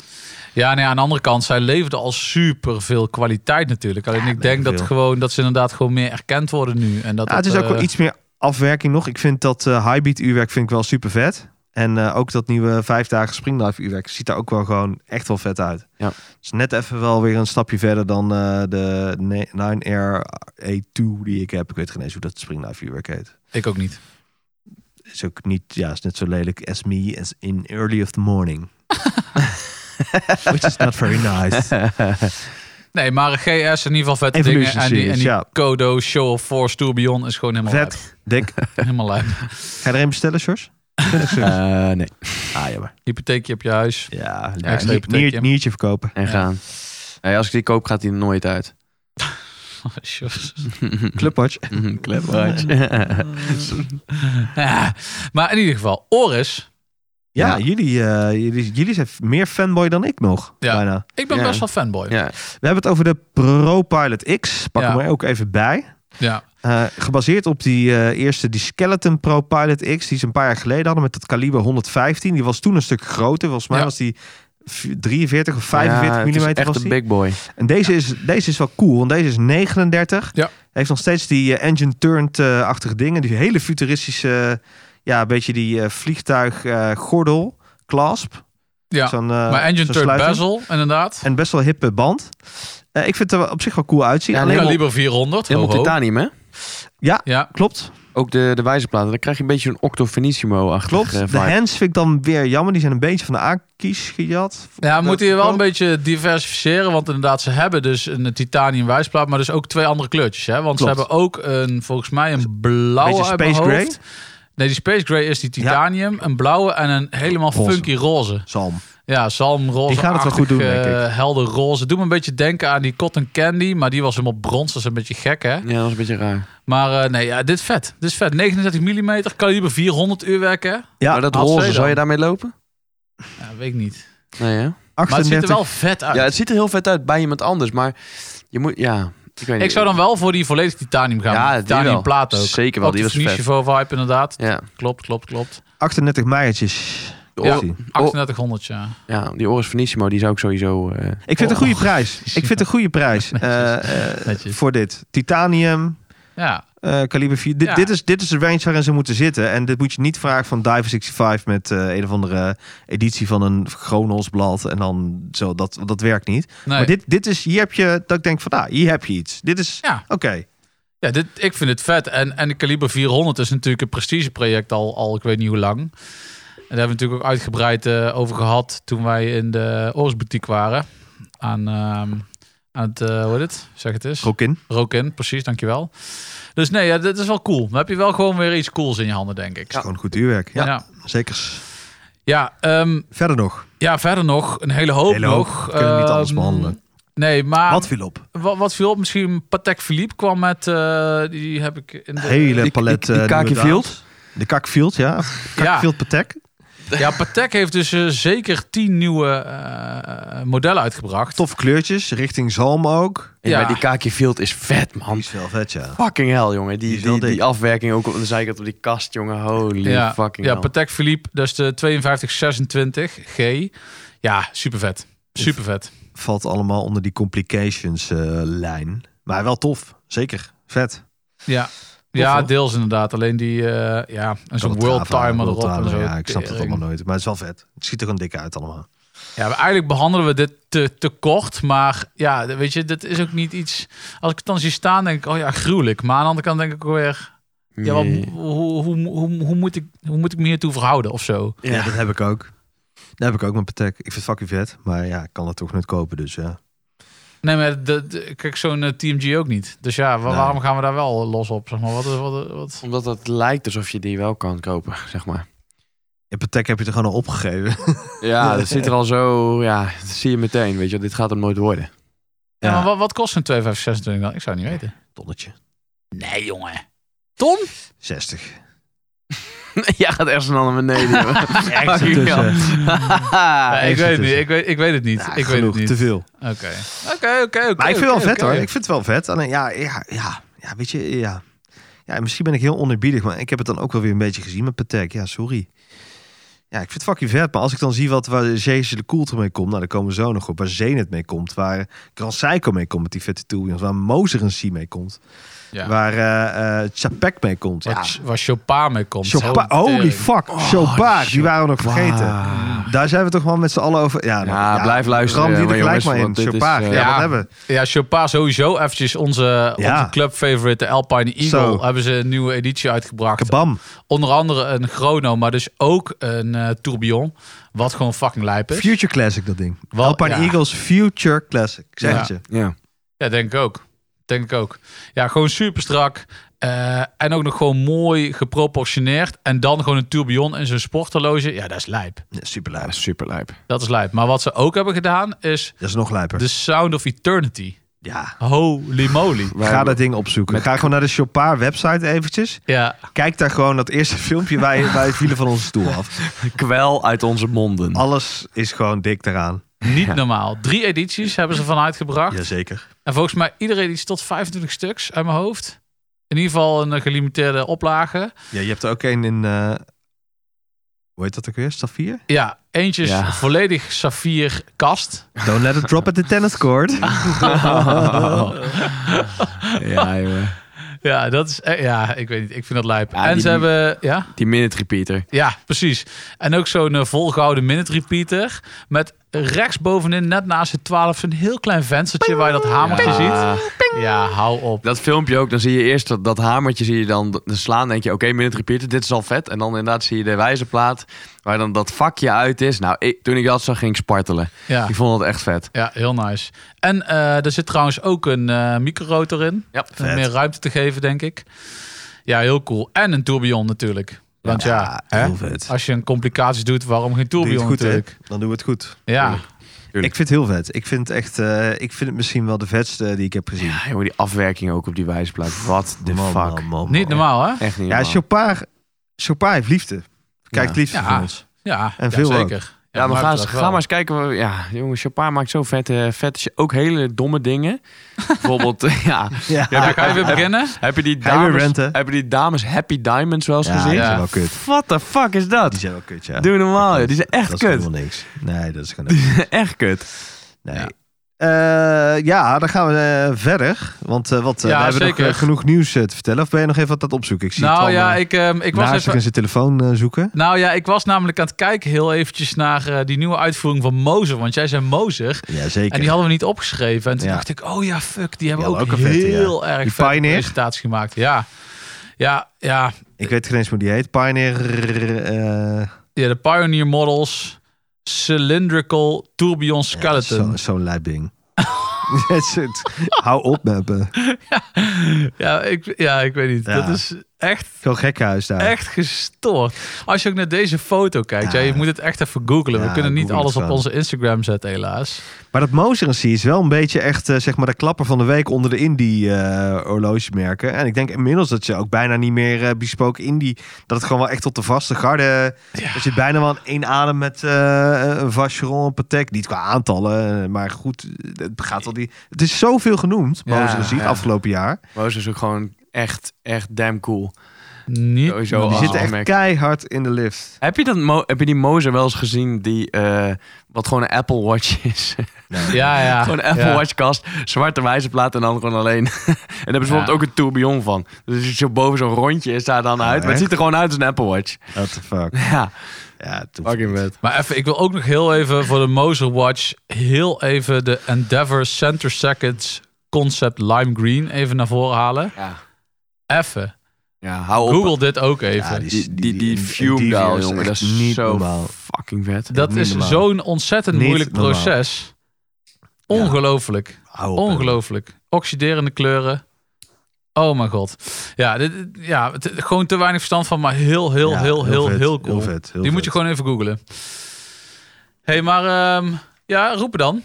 Ja, nou ja, aan de andere kant, zij leverden al super veel kwaliteit natuurlijk. Alleen ik denk dat, veel. gewoon, dat ze inderdaad gewoon meer erkend worden nu. En dat Ja, het dat, is ook wel eh, iets meer afwerking nog. Ik vind dat eh highbeat uurwerk vind ik wel super vet. En eh, ook dat nieuwe vijf dagen springlife uurwerk ziet daar ook wel gewoon echt wel vet uit. Ja. is net even wel weer een stapje verder dan eh, de 9R A2 die ik heb. Ik weet geen eens hoe dat springlife uurwerk heet. Ik ook niet. Is ook niet, ja, is net zo lelijk as me as in early of the <laughs> morning. Which is not very nice. Nee, maar GS in ieder geval vette Evolution dingen. En die, en series, die ja. Kodo Show of Force Tourbillon is gewoon helemaal lijp. Vet. Dik. Helemaal lijp. Ga je er een bestellen, <laughs> Sjors? Eh, nee. Ah, jammer. Hypotheekje op je huis. <laughs> Ja, extra nier- hypotheekje. nier- niertje verkopen. En gaan. Hey, als ik die koop, gaat die er nooit uit. Mhm. Clubwatch. Kleppertje. Ja, maar in ieder geval, Oris. Ja, Ja. Jullie, eh, jullie, jullie zijn meer fanboy dan ik nog. Ja. Bijna. Ik ben Ja. best wel fanboy. <laughs> ja. We hebben het over de ProPilot X. Pak Ja. hem er ook even bij. Ja. Eh, gebaseerd op die eh, eerste, die Skeleton Pro Pilot X, die ze een paar jaar geleden hadden met dat kaliber 115. Die was toen een stuk groter. Volgens mij Ja. was die v- 43 of 45 ja, het is mm. echt was een die. big boy. En deze is, deze is wel cool, want deze is 39. Ja. Heeft nog steeds die eh, engine turned-achtige dingen. Die hele futuristische, eh, ja, een beetje die eh, vliegtuig eh, gordel, clasp. ja. Zo'n, eh, maar engine zo'n turned sluiting. bezel, inderdaad. En best wel hippe band. Eh, ik vind het er op zich wel cool uitzien. Ja, Ja, helemaal- Kaliber 400, ho, Helemaal ho. titanium, hè? Ja, klopt. Ook de, de wijzerplaten. Dan krijg je een beetje een Octo Fenissimo-achtig Klopt. eh, de vibe. hands vind ik dan weer jammer. Die zijn een beetje van de aankies gejat. ja moet hij wel ook. een beetje diversificeren. Want inderdaad, ze hebben dus een titanium wijsplaat, maar dus ook twee andere kleurtjes. Hè? Want Klopt. ze hebben ook een, volgens mij een blauwe beetje uit mijn space grey. hoofd. Nee, die Space Gray is die titanium, een blauwe en een helemaal Roze. funky roze. Zalm. Ja, zalmroze. Die gaat het wel goed doen, denk ik. eh, Helder roze. Doe me een beetje denken aan die Cotton Candy, maar die was helemaal brons. Dat is een beetje gek, hè? Ja, dat is een beetje raar. Maar eh, nee, ja, dit is vet. Dit is vet. 39 mm, kaliber 400 uurwerk, hè? Ja, maar dat had roze, zij zou je dan. daarmee lopen? Ja, weet ik niet. Nee, hè? Maar het ziet er 38. wel vet uit. Ja, Ah, het ziet er heel vet uit bij iemand anders, maar je moet... Ja, ik weet ik zou dan wel voor die volledig titanium gaan. Ja, Ja, die wel. titanium plaat ook. Zeker wel, Ook die de was vet. Fenicio vibe inderdaad. Ja. Klopt, klopt, klopt. 38 meijertjes. Ja. Ik Oh. 3800, ja. Ja, die Oris Fenissimo, die zou ik sowieso... eh, vind het een goede prijs. Ik vind het een goede prijs eh, eh, Netjes. voor dit. Titanium, Ja, eh kaliber 4. Dit, Ja. dit, is, dit is de range waarin ze moeten zitten. En dit moet je niet vragen van Diver 65 met eh, een of andere editie van een Chronos blad. En dan zo, dat, dat werkt niet. nee. Maar dit, dit is, hier heb je, dat ik denk van, ah, hier heb je iets. Dit is, Ja. oké. ja dit, ik vind het vet. En, en de kaliber 400 is natuurlijk een prestigeproject al, al ik weet niet hoe lang. En daar hebben we natuurlijk ook uitgebreid eh, over gehad toen wij in de Oorsboutique waren. Aan, ehm, aan het, eh, hoe heet het? Zeg het eens. Rokin. Rokin, precies, dankjewel. Dus nee, ja, dit is wel cool. Dan heb je wel gewoon weer iets cools in je handen, denk ik. Gewoon goed uurwerk. Ja, ja. zeker. Ja, ehm, Verder nog. ja, verder nog een hele hoop Hele hoop. nog. We kunnen niet alles Ehm, behandelen. Nee, maar Wat wat, viel op? wat, viel op? Misschien Patek Philippe kwam met... eh, die heb ik in de... Hele die- palet. die- die eh, Kaki nieuwe Field? dames. De Kakfield, ja. Kakfield Patek. Ja, Patek heeft dus eh, zeker tien nieuwe eh, modellen uitgebracht. Toffe kleurtjes, richting zalm ook. hey, Ja. maar die Kaki Field is vet, man. Die is wel vet, ja. Fucking hell, jongen. Die, Die is die, wel die, dik. afwerking ook op de zijkant op die kast, jongen. Holy ja, fucking ja hell. Patek Philippe, dat is de 5226 G. Ja, super vet. Super vet. Valt allemaal onder die complications eh, lijn. Maar wel tof, zeker. Vet. Ja. Ja, hoor. deels inderdaad. Alleen die, eh, ja, en zo'n Calatrava, world timer world erop. en timer, zo. Ja, ik snap dat Tering. allemaal nooit. Maar het is wel vet. Het ziet er gewoon dik uit allemaal. Ja, maar eigenlijk behandelen we dit te, te kort. Maar ja, weet je, dit is ook niet iets... Als ik het dan zie staan, denk ik, oh ja, gruwelijk. Maar aan de andere kant denk ik ook weer... Ja, wat, Nee. hoe, hoe, hoe, hoe, moet ik, hoe moet ik me hiertoe verhouden of zo? Ja. dat heb ik ook. Dat heb ik ook met Patek. Ik vind het fucking vet. Maar ja, ik kan het toch niet kopen, dus ja. Nee, maar de, de- kijk, zo'n eh, TMG ook niet. Dus ja, wa- Nee. waarom gaan we daar wel los op? Zeg maar, wat, wat, wat? Omdat het lijkt alsof je die wel kan kopen, zeg maar. Ja, Patek heb je er gewoon al opgegeven. Ja, <laughs> dat zit er al zo... Ja, dat zie je meteen, weet je. wel. Dit gaat hem nooit <laughs> worden. <laughs> Ja. Ja. maar wat, wat kost een 2526 dan? Ik zou het niet weten. Tonnetje. Nee, jongen. Tom? 60. ja, gaat ergens naar beneden, <laughs> jongen. Echt Fucking hell. eh, Ah. Ja, Eh, ik, ergens weet het niet, tussen. ik, weet, ik weet het niet. <laughs> ik weet het genoeg, niet. te veel. Oké. Oké, oké, oké. Maar ik vind oké, het wel vet oké. hoor. Ik vind het wel vet. Alleen ja, ja, ja, ja weet je, ja. ja. en Misschien ben ik heel onerbiedig, maar ik heb het dan ook wel weer een beetje gezien met Patek. Ja, sorry. Ja, ik vind het fucking vet. Maar als ik dan zie wat, waar Jezus de Coulter mee komt, nou, daar komen we zo nog op. Waar Zenit mee komt, waar Gran Seiko mee komt met die vette toewiels. Waar Moser en C mee komt. Ja. Waar eh eh Chapek mee komt. Waar, Ja. Ch- waar Chopin mee komt. Chopin, Oh, holy tering. fuck, Chopin, die waren we nog vergeten. Daar zijn we toch wel met z'n allen over. Ja, nou, Ja, blijf luisteren, Ram die maar er gelijk jongens, maar in. want dit is, Chopin, eh, ja, ja. wat hebben we? Ja, Chopin sowieso. Eventjes onze, Ja. onze club favorite, de Alpine Eagle, Zo. hebben ze een nieuwe editie uitgebracht. Kabam. Onder andere een chrono, maar dus ook een eh, tourbillon. Wat gewoon fucking lijp is. Future Classic, dat ding. Wel, Alpine ja. Eagles Future Classic. Ik Zeg Ja. het je. Ja. Ja, denk ik ook. Denk ik ook. Ja, gewoon super strak. eh, en ook nog gewoon mooi geproportioneerd. En dan gewoon een tourbillon in zo'n sporthorloge. Ja, dat is lijp. Ja, super Ja, lijp. super lijp. Dat is lijp. Maar wat ze ook hebben gedaan is Dat is nog lijper. The Sound of Eternity. ja. Holy moly. Ga dat ding opzoeken. Ga gewoon naar de Chopin website eventjes. Ja, Kijk daar gewoon dat eerste <laughs> filmpje. Wij, wij vielen van onze stoel af. kwel uit onze monden. <laughs> Alles is gewoon dik eraan. niet normaal. Drie edities hebben ze van uitgebracht. Jazeker. En volgens mij iedere editie tot 25 stuks uit mijn hoofd. in ieder geval een eh, gelimiteerde oplage. Ja, je hebt er ook één in. eh, hoe heet dat ook weer? Staffier? Ja, eentje is Ja. volledig saffier kast. Don't let it drop at the tennis court. <laughs> Ah, ja, jongen. Ja, dat is... eh, Ja, ik weet niet. Ik vind dat lijp. Ja, en die- ze die- hebben... Ja? Die minute repeater. Ja, precies. En ook zo'n eh, volgehouden minute repeater. Met rechtsbovenin, net naast het 12, een heel klein venstertje waar je dat hamertje ziet. Ja, hou op. Dat filmpje ook, dan zie je eerst dat, dat hamertje zie je dan, dan slaan. denk je, oké, minute repeater, dit is al vet. En dan inderdaad zie je de wijzerplaat waar dan dat vakje uit is. Nou, ik- toen ik dat zag, ging ik spartelen. Ja, Ik vond dat echt vet. ja heel nice. En eh, er zit trouwens ook een eh microrotor in. Ja, Om meer ruimte te geven, denk ik. Ja, heel cool. En een tourbillon natuurlijk. Want ja, hè? heel vet. als je een complicatie doet, waarom geen Doe je het tourbillon goed, hè? natuurlijk? Dan doen we het goed. Ja, Ik vind het heel vet. Ik vind het echt. eh, ik vind het misschien wel de vetste die ik heb gezien. Ja, jongen, die afwerking ook op die wijzerplaat. Wat de Man, fuck. man, man, niet man. normaal hè? Echt niet Ja, normaal. Chopard, Chopard heeft liefde. Kijkt Ja. liefde Ja. van ons. Ja, En ja, veel zeker. Ja, maar dat ga, maakt het ga wel. maar eens kijken. waar- Ja, jongen, Chopin maakt zo vette, vette, ook hele domme dingen. Bijvoorbeeld, eh, ja. Ja, Ja, daar ga je weer beginnen. Heb je die Ga je weer dames, renten? heb je die dames Happy Diamonds wel eens gezien? die Ja. zijn wel kut. What the fuck is Die dat? zijn wel kut, ja. Doe normaal, joh. Die zijn echt dat is kut. helemaal niks. Nee, dat is gewoon niks. <laughs> Echt kut. Nee. Ja. Eh, ja, dan gaan we eh, verder. Want eh, wat, eh, Ja, we hebben nog zeker. eh, genoeg nieuws eh, te vertellen. Of ben je nog even wat aan het opzoeken? Ik zie Nou Twan, ja, eh, ik, ehm, ik was naastig even in zijn telefoon eh, zoeken. Nou ja, ik was namelijk aan het kijken heel eventjes naar eh, die nieuwe uitvoering van Mozer. Want jij zei Mozer. Ja, zeker. En die hadden we niet opgeschreven. En toen Ja. dacht ik, oh ja, fuck. Die hebben hadden ook, ook een vette, heel erg Die vette Pioneer? presentatie gemaakt. Ja. Ja, ja. Ik weet geen eens hoe die heet. Pioneer... eh, ja, de Pioneer Models. Cylindrical Tourbillon ja, Skeleton. zo- Zo'n lijp <laughs> ding. Dat is het. Hou op met me. Ja, ik, ja, ik weet niet. Ja. Dat is echt, Zo'n gekhuis daar. echt gestoord. Als je ook naar deze foto kijkt. Ja. Ja, je moet het echt even googlen. Ja, we kunnen niet google het alles op gewoon. onze Instagram zetten, helaas. Maar dat Moserensie is wel een beetje echt eh, zeg maar de klapper van de week onder de indie eh horlogemerken. En ik denk inmiddels dat je ook bijna niet meer eh bespoken indie. Dat het gewoon wel echt tot de vaste garde. Ja. Er zit bijna wel een één adem met eh een Vacheron, een Patek. Niet qua aantallen, eh, maar goed. Het gaat wel die. Het is zoveel genoemd, Ja, Moserensie, ja. afgelopen jaar. Moos is ook gewoon echt, echt damn cool. Niet Sowieso Die Oh, zitten echt merk. keihard in de lift. Heb je, dat, Mo- heb je die Mozer wel eens gezien die, eh, wat gewoon een Apple Watch is? Ja, ja. gewoon een Apple Ah, ja. Watch kast, zwarte wijzerplaat en dan gewoon alleen. <laughs> en daar hebben ze bijvoorbeeld ook een tourbillon van. Dus het is zo boven zo'n rondje is daar dan uit. maar het echt? ziet er gewoon uit als een Apple Watch. What the <laughs> fuck. Ja, Ja, toen. fucking vet. Maar even, ik wil ook nog heel even voor de Moser Watch heel even de Endeavour Center Seconds Concept Lime Green even naar voren halen. Ja, Even. ja hou op. Google dit ook even. Ja, Die, die, die fume daar dial, jongen, dat is niet zo normaal. fucking vet. dat niet is normaal. zo'n ontzettend Niet moeilijk normaal. proces. Ja. Ongelooflijk. Hou op, hè. Ongelooflijk. Oxiderende kleuren. Oh mijn god. Ja, dit, dit- ja het- gewoon te weinig verstand van, maar heel, heel, Ja, heel, heel, heel, vet, cool. Heel vet, heel Die moet vet. je gewoon even googlen. hey, maar ehm, ja, roepen dan.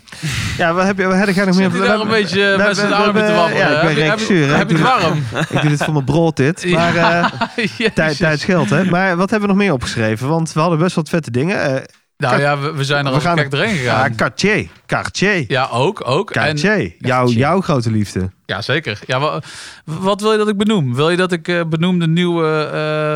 Ja, wat heb je, wat heb jij nog meer? Zit hij daar een beetje eh, we- met zijn we- armen we- te wapperen? Ja, ik Heb ben je- regisseur. hè. Heb je Ik het doe dit- warm? <laughs> Ik doe dit voor mijn brood, dit. Ja. Maar eh, <laughs> tijd, Jezus. tijd scheelt, hè. Maar eh, wat hebben we nog meer opgeschreven? Want we hadden best wat vette dingen. Eh, Nou ja, we, we zijn er we al gaan- gek doorheen ja, gegaan. Cartier. Cartier. Ja, ook, ook. En, Cartier. jouw, Cartier. jouw grote liefde. ja, zeker. Ja, wa- wat wil je dat ik benoem? Wil je dat ik eh, benoem de nieuwe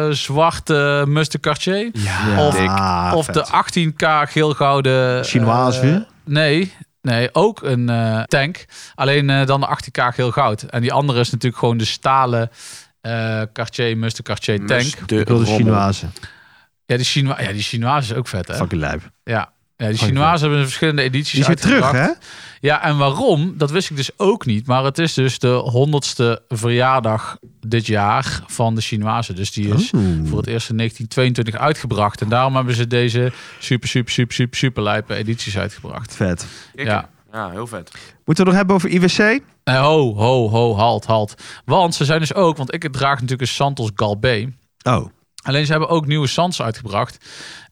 eh, zwarte Mustang Cartier? Ja, Of- dik. of Ah, vet. de 18k geel-gouden... Chinoise eh, weer? nee, nee, ook een eh, tank. Alleen eh, dan de 18k geel-goud. En die andere is natuurlijk gewoon de stalen eh Cartier, Mustang Cartier tank. de Ik wil de rommel. Chinoise. Ja, die Chinoise ja, die Chinoise is ook vet, hè? Fucking lijp. Ja. Ja, die Dank je. Chinoise hebben verschillende edities Die is weer terug, uitgebracht. hè? Ja, en waarom? Dat wist ik dus ook niet. Maar het is dus de honderdste verjaardag dit jaar van de Chinoise. Dus die is Oeh. voor het eerst in 1922 uitgebracht. En daarom hebben ze deze super, super, super, super, super lijpe edities uitgebracht. Vet. Ja. ja, heel vet. Moeten we het nog hebben over IWC? Nee, ho, ho, ho, halt, halt. Want ze zijn dus ook, want ik draag natuurlijk een Santos Galbé. Oh. Alleen ze hebben ook nieuwe Sans uitgebracht.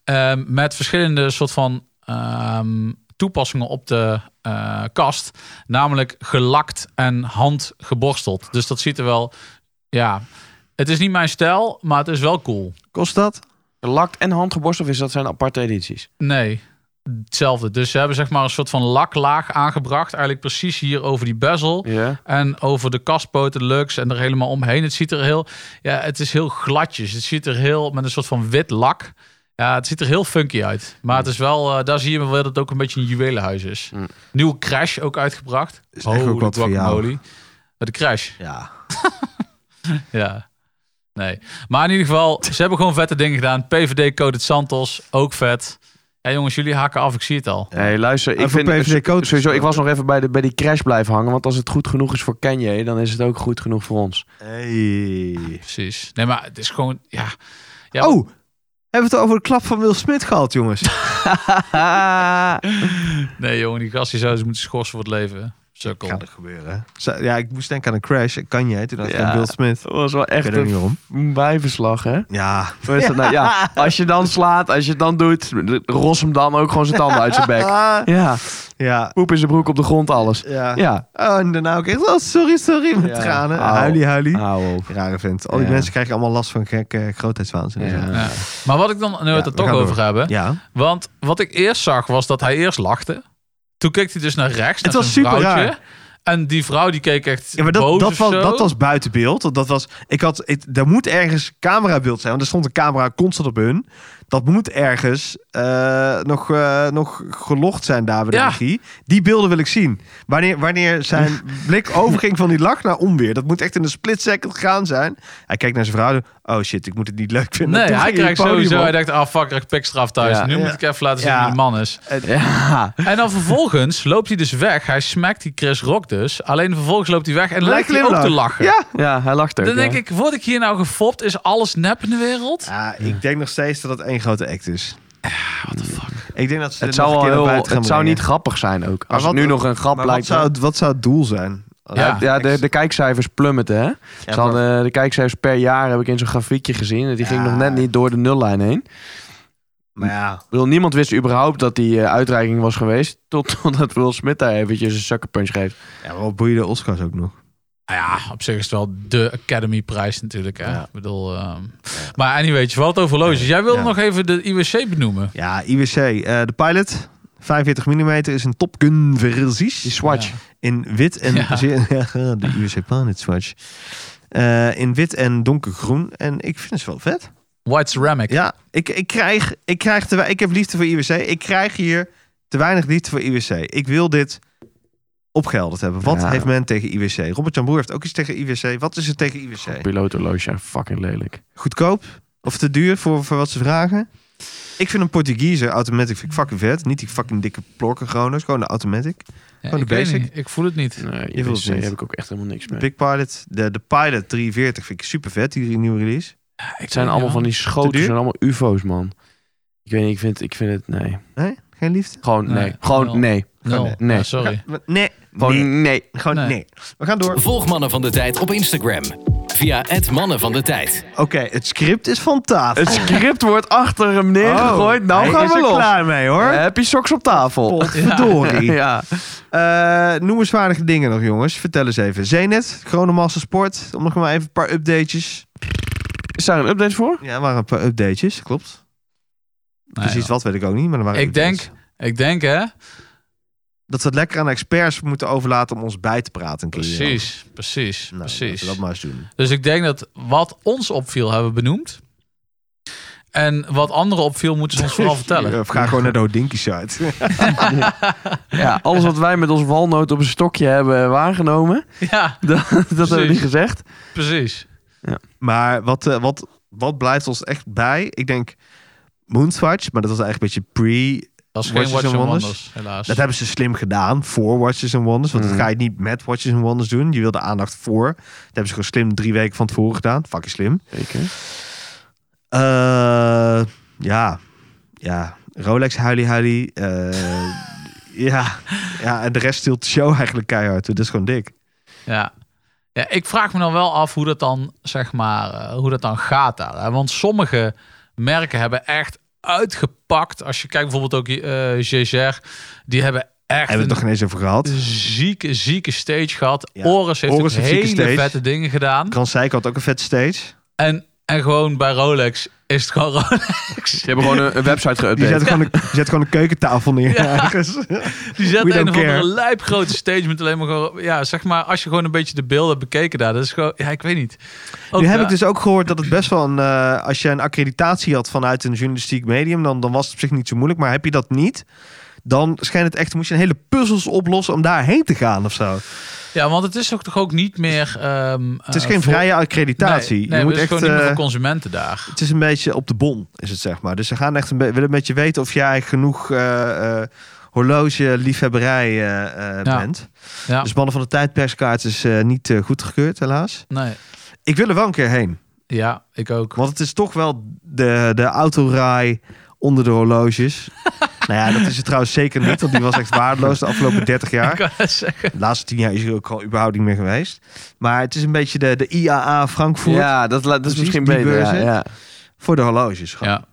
ehm, met verschillende soort van ehm, toepassingen op de eh, kast. Namelijk gelakt en handgeborsteld. Dus dat ziet er wel. Ja, het is niet mijn stijl, maar het is wel cool. Kost dat? Gelakt en handgeborst of is dat zijn aparte edities? Nee. hetzelfde. Dus ze hebben zeg maar een soort van laklaag aangebracht. Eigenlijk precies hier over die bezel. Ja. En over de kastpoten, de lux en er helemaal omheen. Het ziet er heel, ja, het is heel gladjes. Het ziet er heel met een soort van wit lak. Ja, het ziet er heel funky uit. Maar het is wel, eh, daar zie je wel dat het ook een beetje een juwelenhuis is. Mm. Nieuwe Crash ook uitgebracht. Is echt ook Holy wat voor jou. guacamole. De Crash, Ja. ja. Nee. Maar in ieder geval, ze hebben gewoon vette dingen gedaan. PVD Coded Santos, ook vet. Ja jongens, jullie hakken af, ik zie het al. Hey, luister, ik Over vind eh, PVV codes. sowieso. Ik was nog even bij, de, bij die crash blijven hangen, want als het goed genoeg is voor Kanye, dan is het ook goed genoeg voor ons. Hey. Precies. Nee, maar het is gewoon, ja. Ja, Oh, hebben we het over de klap van Will Smith gehad, <laughs> jongens? Nee, jongen, die gast die zou ze moeten schorsen voor het leven. Sukkel. Kan er gebeuren. Zo- Ja, ik moest denken aan een crash. Kan jij? Toen dacht ik Ja. aan Will Smith. dat was wel Ik echt weet ook niet een om. f- bijverslag, hè? Ja, Hoe is dat nou? Ja, als je dan slaat, als je het dan doet, ros hem dan ook gewoon zijn tanden uit zijn <laughs> bek. Ja, Ah. ja, poep in zijn broek op de grond, alles. ja. nou- Ja, Oh, en daarna ook echt, oh, sorry, sorry, met Ja. tranen. Au. Huilie, huilie. hou op. Rare vent. Al die Ja. mensen krijgen allemaal last van gek eh, grootheidswaanzin. en zo. Ja. Ja. Maar wat ik dan, nu we Ja, het er we toch gaan over door. hebben. ja. Want wat ik eerst zag was dat hij eerst lachte. Toen keek hij dus naar rechts. Het naar was zijn super vrouwtje. raar. En die vrouw die keek echt Ja, maar dat, boos dat, of was, zo. dat was buiten beeld. want Dat was, ik had, ik, er moet ergens camerabeeld zijn, want er stond een camera constant op hun. Dat moet ergens eh, nog, eh, nog gelogd zijn daar bij de Ja. regie. Die beelden wil ik zien. Wanneer, wanneer <laughs> zijn blik overging van die lach naar onweer. Dat moet echt in een split second gaan zijn. Hij kijkt naar zijn vrouw. Oh shit, ik moet het niet leuk vinden. Nee, Toen hij ging het krijgt podium sowieso. op. Hij denkt, ah fuck, ik pikstraf thuis. Ja. nu Ja. moet ik even laten zien Ja. wie die man is. Ja, En dan vervolgens loopt hij dus weg. Hij smakt die Chris Rock dus. Alleen vervolgens loopt hij weg en lijkt hij ook glimlach. te lachen. Ja. ja hij lacht ook. Dan denk ja. ik, word ik hier nou gefopt? Is alles nep in de wereld? Ja, ik denk nog steeds dat dat één grote act is. What the fuck? Ik denk dat ze het dit nog zou, een keer wel naar heel, buiten gaan het zou brengen. niet grappig zijn ook. Als wat- het nu nog een grap Maar wat blijkt. zou, het- wat zou het doel zijn? Ja. Ja, de, eh, de kijkcijfers plummetten, hè? Ze maar- hadden, de kijkcijfers per jaar heb ik in zo'n grafiekje gezien. en Die ging Ja. nog net niet door de nullijn heen. Maar ja, Ik bedoel, niemand wist überhaupt dat die eh, uitreiking was geweest. <laughs> tot- Totdat Will Smith daar eventjes een suckerpunch geeft. ja wat boeien de Oscars ook nog? Nou ja, op zich is het wel de Academy prijs natuurlijk. Hè? Ja. Ik bedoel, ehm, Maar anyway, je had het over loges. Jij wilde Ja. nog even de IWC benoemen. Ja, IWC. eh, de pilot, 45 mm, is een Top Gun Die versies. swatch. In wit en... Ja. zeer- <laughs> Ja, de IWC pilot swatch. Eh, in wit en donkergroen. En ik vind ze wel vet. White Ceramic. Ja, ik, ik, krijg, ik, krijg te, wei- ik heb liefde voor IWC. Ik krijg hier te weinig liefde voor IWC. Ik wil dit opgehelderd hebben. Wat Ja. heeft men tegen IWC? Robert Jan Boer heeft ook iets tegen IWC. Wat is er tegen IWC? Pilotenloge, fucking lelijk. goedkoop of te duur voor, voor wat ze vragen. Ik vind een Portugeser automatic vind ik fucking vet. Niet die fucking dikke plorken Groners, gewoon de automatic. Ja, Gewoon ik, de weet basic. niet. ik voel het niet. Nee, Je wilt IWC niet. heb ik ook echt helemaal niks De mee. Big Pilot, de, de Pilot 43 vind ik super vet, die nieuwe release. Het zijn allemaal van die Te schoten, duur? zijn allemaal ufo's, man. Ik weet niet, ik vind, ik vind het, nee. Nee, geen liefde? Gewoon Nee. nee. Gewoon Nul. nee. Nul. Nee. Ja, sorry. Ga- Nee, Gewoon nee. nee. Gewoon Nee. nee. We gaan door. Volg Mannen van de Tijd op Instagram. Via het Mannen van de Tijd. Oké, het script is van tafel. <laughs> Het script wordt achter hem neergegooid. Oh, nou hij gaan is we er los. klaar mee hoor. Eh, Heb je soks op tafel? Potverdorie. <laughs> <laughs> Ja. Eh, noemenswaardige dingen nog jongens. Vertel eens even. Zenit, Chronomassa Sport. Om nog maar even een paar updatejes. Is daar een update voor? Ja, er waren een paar updatejes, klopt. Nou Precies ja. wat weet ik ook niet, maar er waren Ik updates. denk, ik denk hè. dat we het lekker aan de experts moeten overlaten om ons bij te praten. Een keer hierover. Precies, precies, Nou, precies. laten we dat maar eens doen. Dus ik denk dat wat ons opviel hebben we benoemd. En wat anderen opviel moeten ze ons <laughs> vooral vertellen. Of ga gewoon naar de Hodinky site. <laughs> Ja, alles wat wij met ons walnoot op een stokje hebben waargenomen, <laughs> Ja, dat, dat hebben we Precies. niet gezegd. precies. maar wat, eh, wat, wat blijft ons echt bij? Ik denk Moonswatch, maar dat was eigenlijk een beetje pre... Dat is geen Watches Watch and on Wonders? Wonders, helaas. Dat hebben ze slim gedaan voor Watches and Wonders. Want Mhm. Hmm. dat ga je niet met Watches and Wonders doen. Je wil de aandacht voor. Dat hebben ze gewoon slim drie weken van tevoren gedaan. Fucking slim. Zeker. Eh, ja. Ja. Rolex huilie huilie. Eh, <laughs> ja. ja. En de rest stilt de show eigenlijk keihard. Dus Dat is gewoon dik. Ja. ja, ik vraag me dan wel af hoe dat dan, zeg maar, eh, hoe dat dan gaat daar. hè. Want sommige merken hebben echt uitgepakt. Als je kijkt bijvoorbeeld ook eh Jaeger, die hebben echt Hebben we het nog een geen eens over gehad. zieke, zieke stage gehad. Ja, Oris heeft Oris ook heeft zieke hele stage. vette dingen gedaan. Kran Seiko had ook een vet stage. En En gewoon bij Rolex is het gewoon Rolex. <laughs> Ze hebben gewoon een, een website Die zet, geüpdate. gewoon een, die zet gewoon een keukentafel neer Ja. ergens. Die We zet don't een of care. andere lijpgrote stage met alleen maar gewoon... Ja, zeg maar, als je gewoon een beetje de beelden hebt bekeken daar. Dat is gewoon... Ja, ik weet niet. Ook, nu heb eh, ik dus ook gehoord dat het best wel een... eh, als je een accreditatie had vanuit een journalistiek medium... Dan, dan was het op zich niet zo moeilijk. Maar heb je dat niet... Dan schijnt het echt, moest je een hele puzzels oplossen om daarheen te gaan of zo. Ja, want het is ook toch ook niet meer... ehm, het is eh, geen voor- vrije accreditatie. Nee, nee, je moet het is echt, gewoon niet meer eh, voor consumenten daar. het is een beetje op de bon, is het zeg maar. Dus ze gaan echt een be- willen een beetje weten of jij genoeg eh, eh, horloge-liefhebberij eh, eh, Ja. bent. Ja, Dus Mannen van de Tijd perskaart is eh, niet eh, goedgekeurd, helaas. nee. Ik wil er wel een keer heen. Ja, ik ook. Want het is toch wel de, de autorij onder de <laughs> horloges. nou ja, dat is het trouwens zeker niet. Want die was echt waardeloos de afgelopen 30 <laughs> <laughs> Ik jaar. wou net zeggen. De laatste 10 jaar is er ook al überhaupt niet meer geweest. Maar het is een beetje de, de IAA Frankfurt Ja, dat, la- dat is Precies, misschien die beter. Ja, beurzen. ja. voor de horloges. Gewoon. Ja.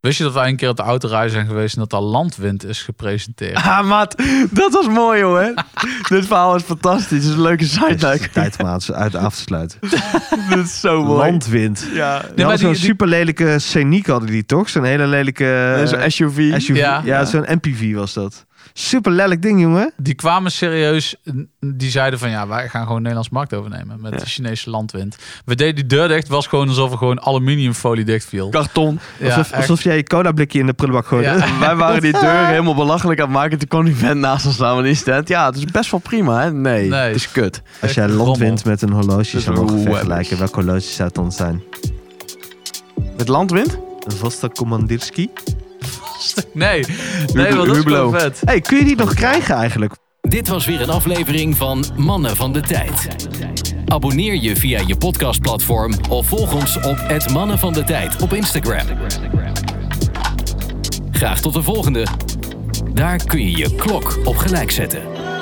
Wist je dat wij een keer op de autorij zijn geweest en dat daar landwind is <laughs> gepresenteerd? Ah, maat, dat was mooi, hoor. <laughs> Dit verhaal is fantastisch. Het is een leuke Dus het is site. tijd om aan te- uit af te <laughs> sluiten. <laughs> Dit is zo mooi. Landwind. Ja, Die maar hadden zo'n die- die- super lelijke Scenic hadden die toch? Zo'n hele lelijke dat is eh, een SUV. SUV. Ja, Ja. zo'n MPV was dat. Super lelijk ding, jongen. Die kwamen serieus, n- die zeiden van ja, wij gaan gewoon Nederlands markt overnemen met de Chinese landwind. We deden die deur dicht, was gewoon alsof er gewoon aluminiumfolie dicht viel. Karton. <laughs> Ja, alsof, echt. alsof jij je cola blikje in de prullenbak gooide. Ja. Wij waren die <laughs> deur helemaal belachelijk aan het maken. Toen kwam die vent naast ons staan. En die stand. Ja, het is best wel prima, hè? Nee, Nee. het is kut. <laughs> Als jij Echt landwind met een horloge Dat zou is mogen web. vergelijken, welke horloge zou het dan zijn? Met landwind? Een Vosta Commandirski? Nee, nee, want dat is Hublot. wel vet. hey, kun je die nog krijgen eigenlijk? Dit was weer een aflevering van Mannen van de Tijd. Abonneer je via je podcastplatform of volg ons op het Mannen van de Tijd op Instagram. Graag tot de volgende. Daar kun je je klok op gelijk zetten.